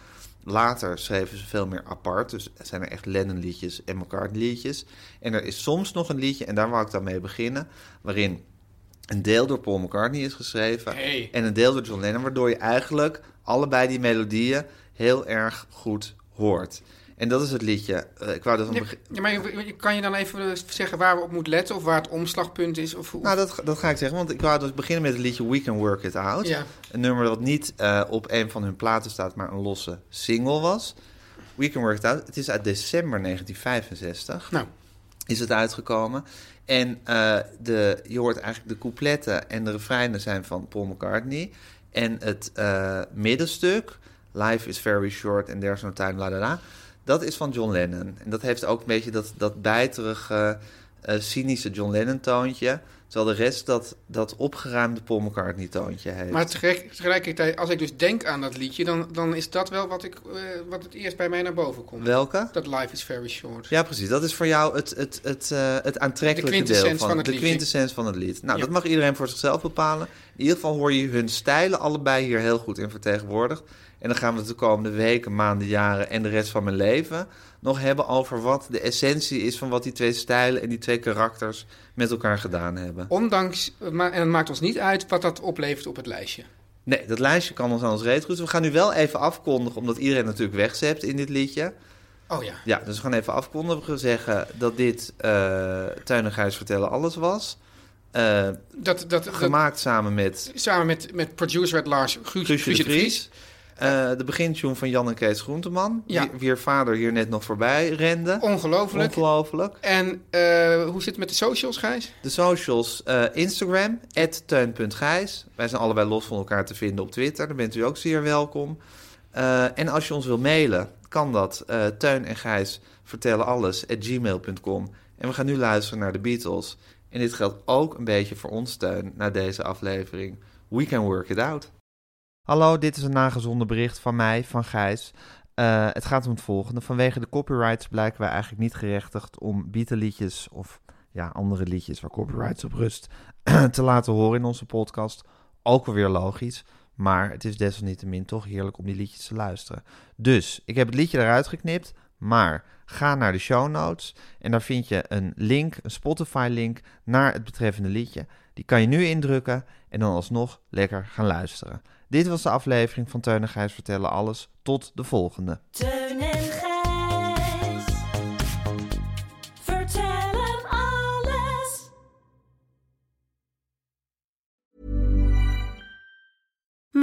Speaker 2: Later schreven ze veel meer apart. Dus er zijn er echt Lennon-liedjes en McCartney-liedjes. En er is soms nog een liedje, en daar wou ik dan mee beginnen... waarin een deel door Paul McCartney is geschreven...
Speaker 3: Hey.
Speaker 2: en een deel door John Lennon... waardoor je eigenlijk allebei die melodieën heel erg goed hoort. En dat is het liedje... eh, ik wou dat een
Speaker 3: Ja, ja, maar je- je- kan je dan even eh, zeggen waar we op moeten letten? Of waar het omslagpunt is? Of, hoe-
Speaker 2: Nou, dat, dat ga ik zeggen, want ik wou dus beginnen met het liedje We Can Work It Out.
Speaker 3: Ja.
Speaker 2: Een nummer dat niet eh, op een van hun platen staat, maar een losse single was. We Can Work It Out, het is uit december 1965
Speaker 3: nou,
Speaker 2: is het uitgekomen. En eh, de, je hoort eigenlijk de coupletten en de refreinen zijn van Paul McCartney. En het eh, middenstuk, Life is very short and there's no time, la la la... dat is van John Lennon. En dat heeft ook een beetje dat, dat bijterige, eh, cynische John Lennon toontje... terwijl de rest dat, dat opgeruimde Paul McCartney toontje heeft.
Speaker 3: maar tegelijk- tegelijkertijd, als ik dus denk aan dat liedje, dan, dan is dat wel wat, ik, eh, wat het eerst bij mij naar boven komt.
Speaker 2: Welke?
Speaker 3: Dat life is very short.
Speaker 2: Ja, precies. Dat is voor jou het, het, het, eh, het
Speaker 3: De
Speaker 2: aantrekkelijke
Speaker 3: quintessens
Speaker 2: deel van,
Speaker 3: van het
Speaker 2: de
Speaker 3: liedje.
Speaker 2: quintessens van het lied. Nou,
Speaker 3: Ja.
Speaker 2: dat mag iedereen voor zichzelf bepalen. In ieder geval hoor je hun stijlen allebei hier heel goed in vertegenwoordigd. En dan gaan we het de komende weken, maanden, jaren en de rest van mijn leven nog hebben over wat de essentie is van wat die twee stijlen en die twee karakters met elkaar gedaan hebben.
Speaker 3: Ondanks, maar, en het maakt ons niet uit wat dat oplevert op het lijstje.
Speaker 2: Nee, dat lijstje kan ons aan ons reet rusten. We gaan nu wel even afkondigen, omdat iedereen natuurlijk wegzept in dit liedje.
Speaker 3: Oh ja.
Speaker 2: Ja, dus we gaan even afkondigen. We zeggen dat dit eh Tuin en Gijs vertellen alles was. Eh,
Speaker 3: Dat, dat, dat-
Speaker 2: gemaakt samen met
Speaker 3: samen met, met producer at large, Guus,
Speaker 2: Guusje de
Speaker 3: Vries.
Speaker 2: Vries. Eh, de begintune van Jan en Kees Groenteman.
Speaker 3: Ja.
Speaker 2: Wie, wie haar vader hier net nog voorbij rende.
Speaker 3: Ongelooflijk.
Speaker 2: Ongelooflijk.
Speaker 3: En eh, hoe zit het met de socials, Gijs?
Speaker 2: De socials, eh, Instagram, teun.gijs. Wij zijn allebei los van elkaar te vinden op Twitter. Daar bent u ook zeer welkom. Eh, en als je ons wil mailen, kan dat. eh teun en Gijs vertellen alles at gmail.com. En we gaan nu luisteren naar de Beatles. En dit geldt ook een beetje voor ons, Teun, na deze aflevering. We can work it out. Hallo, dit is een nagezonden bericht van mij, van Gijs. Eh, het gaat om het volgende. Vanwege de copyrights blijken wij eigenlijk niet gerechtigd om Beatle-liedjes of ja, andere liedjes waar copyrights op rust te laten horen in onze podcast. Ook alweer logisch, maar het is desalniettemin toch heerlijk om die liedjes te luisteren. Dus, ik heb het liedje eruit geknipt, maar ga naar de show notes en daar vind je een link, een Spotify-link naar het betreffende liedje. Die kan je nu indrukken en dan alsnog lekker gaan luisteren. Dit was de aflevering van Teun en Gijs Vertellen Alles. Tot de volgende.
Speaker 5: Teun en Gijs. Vertel hem alles.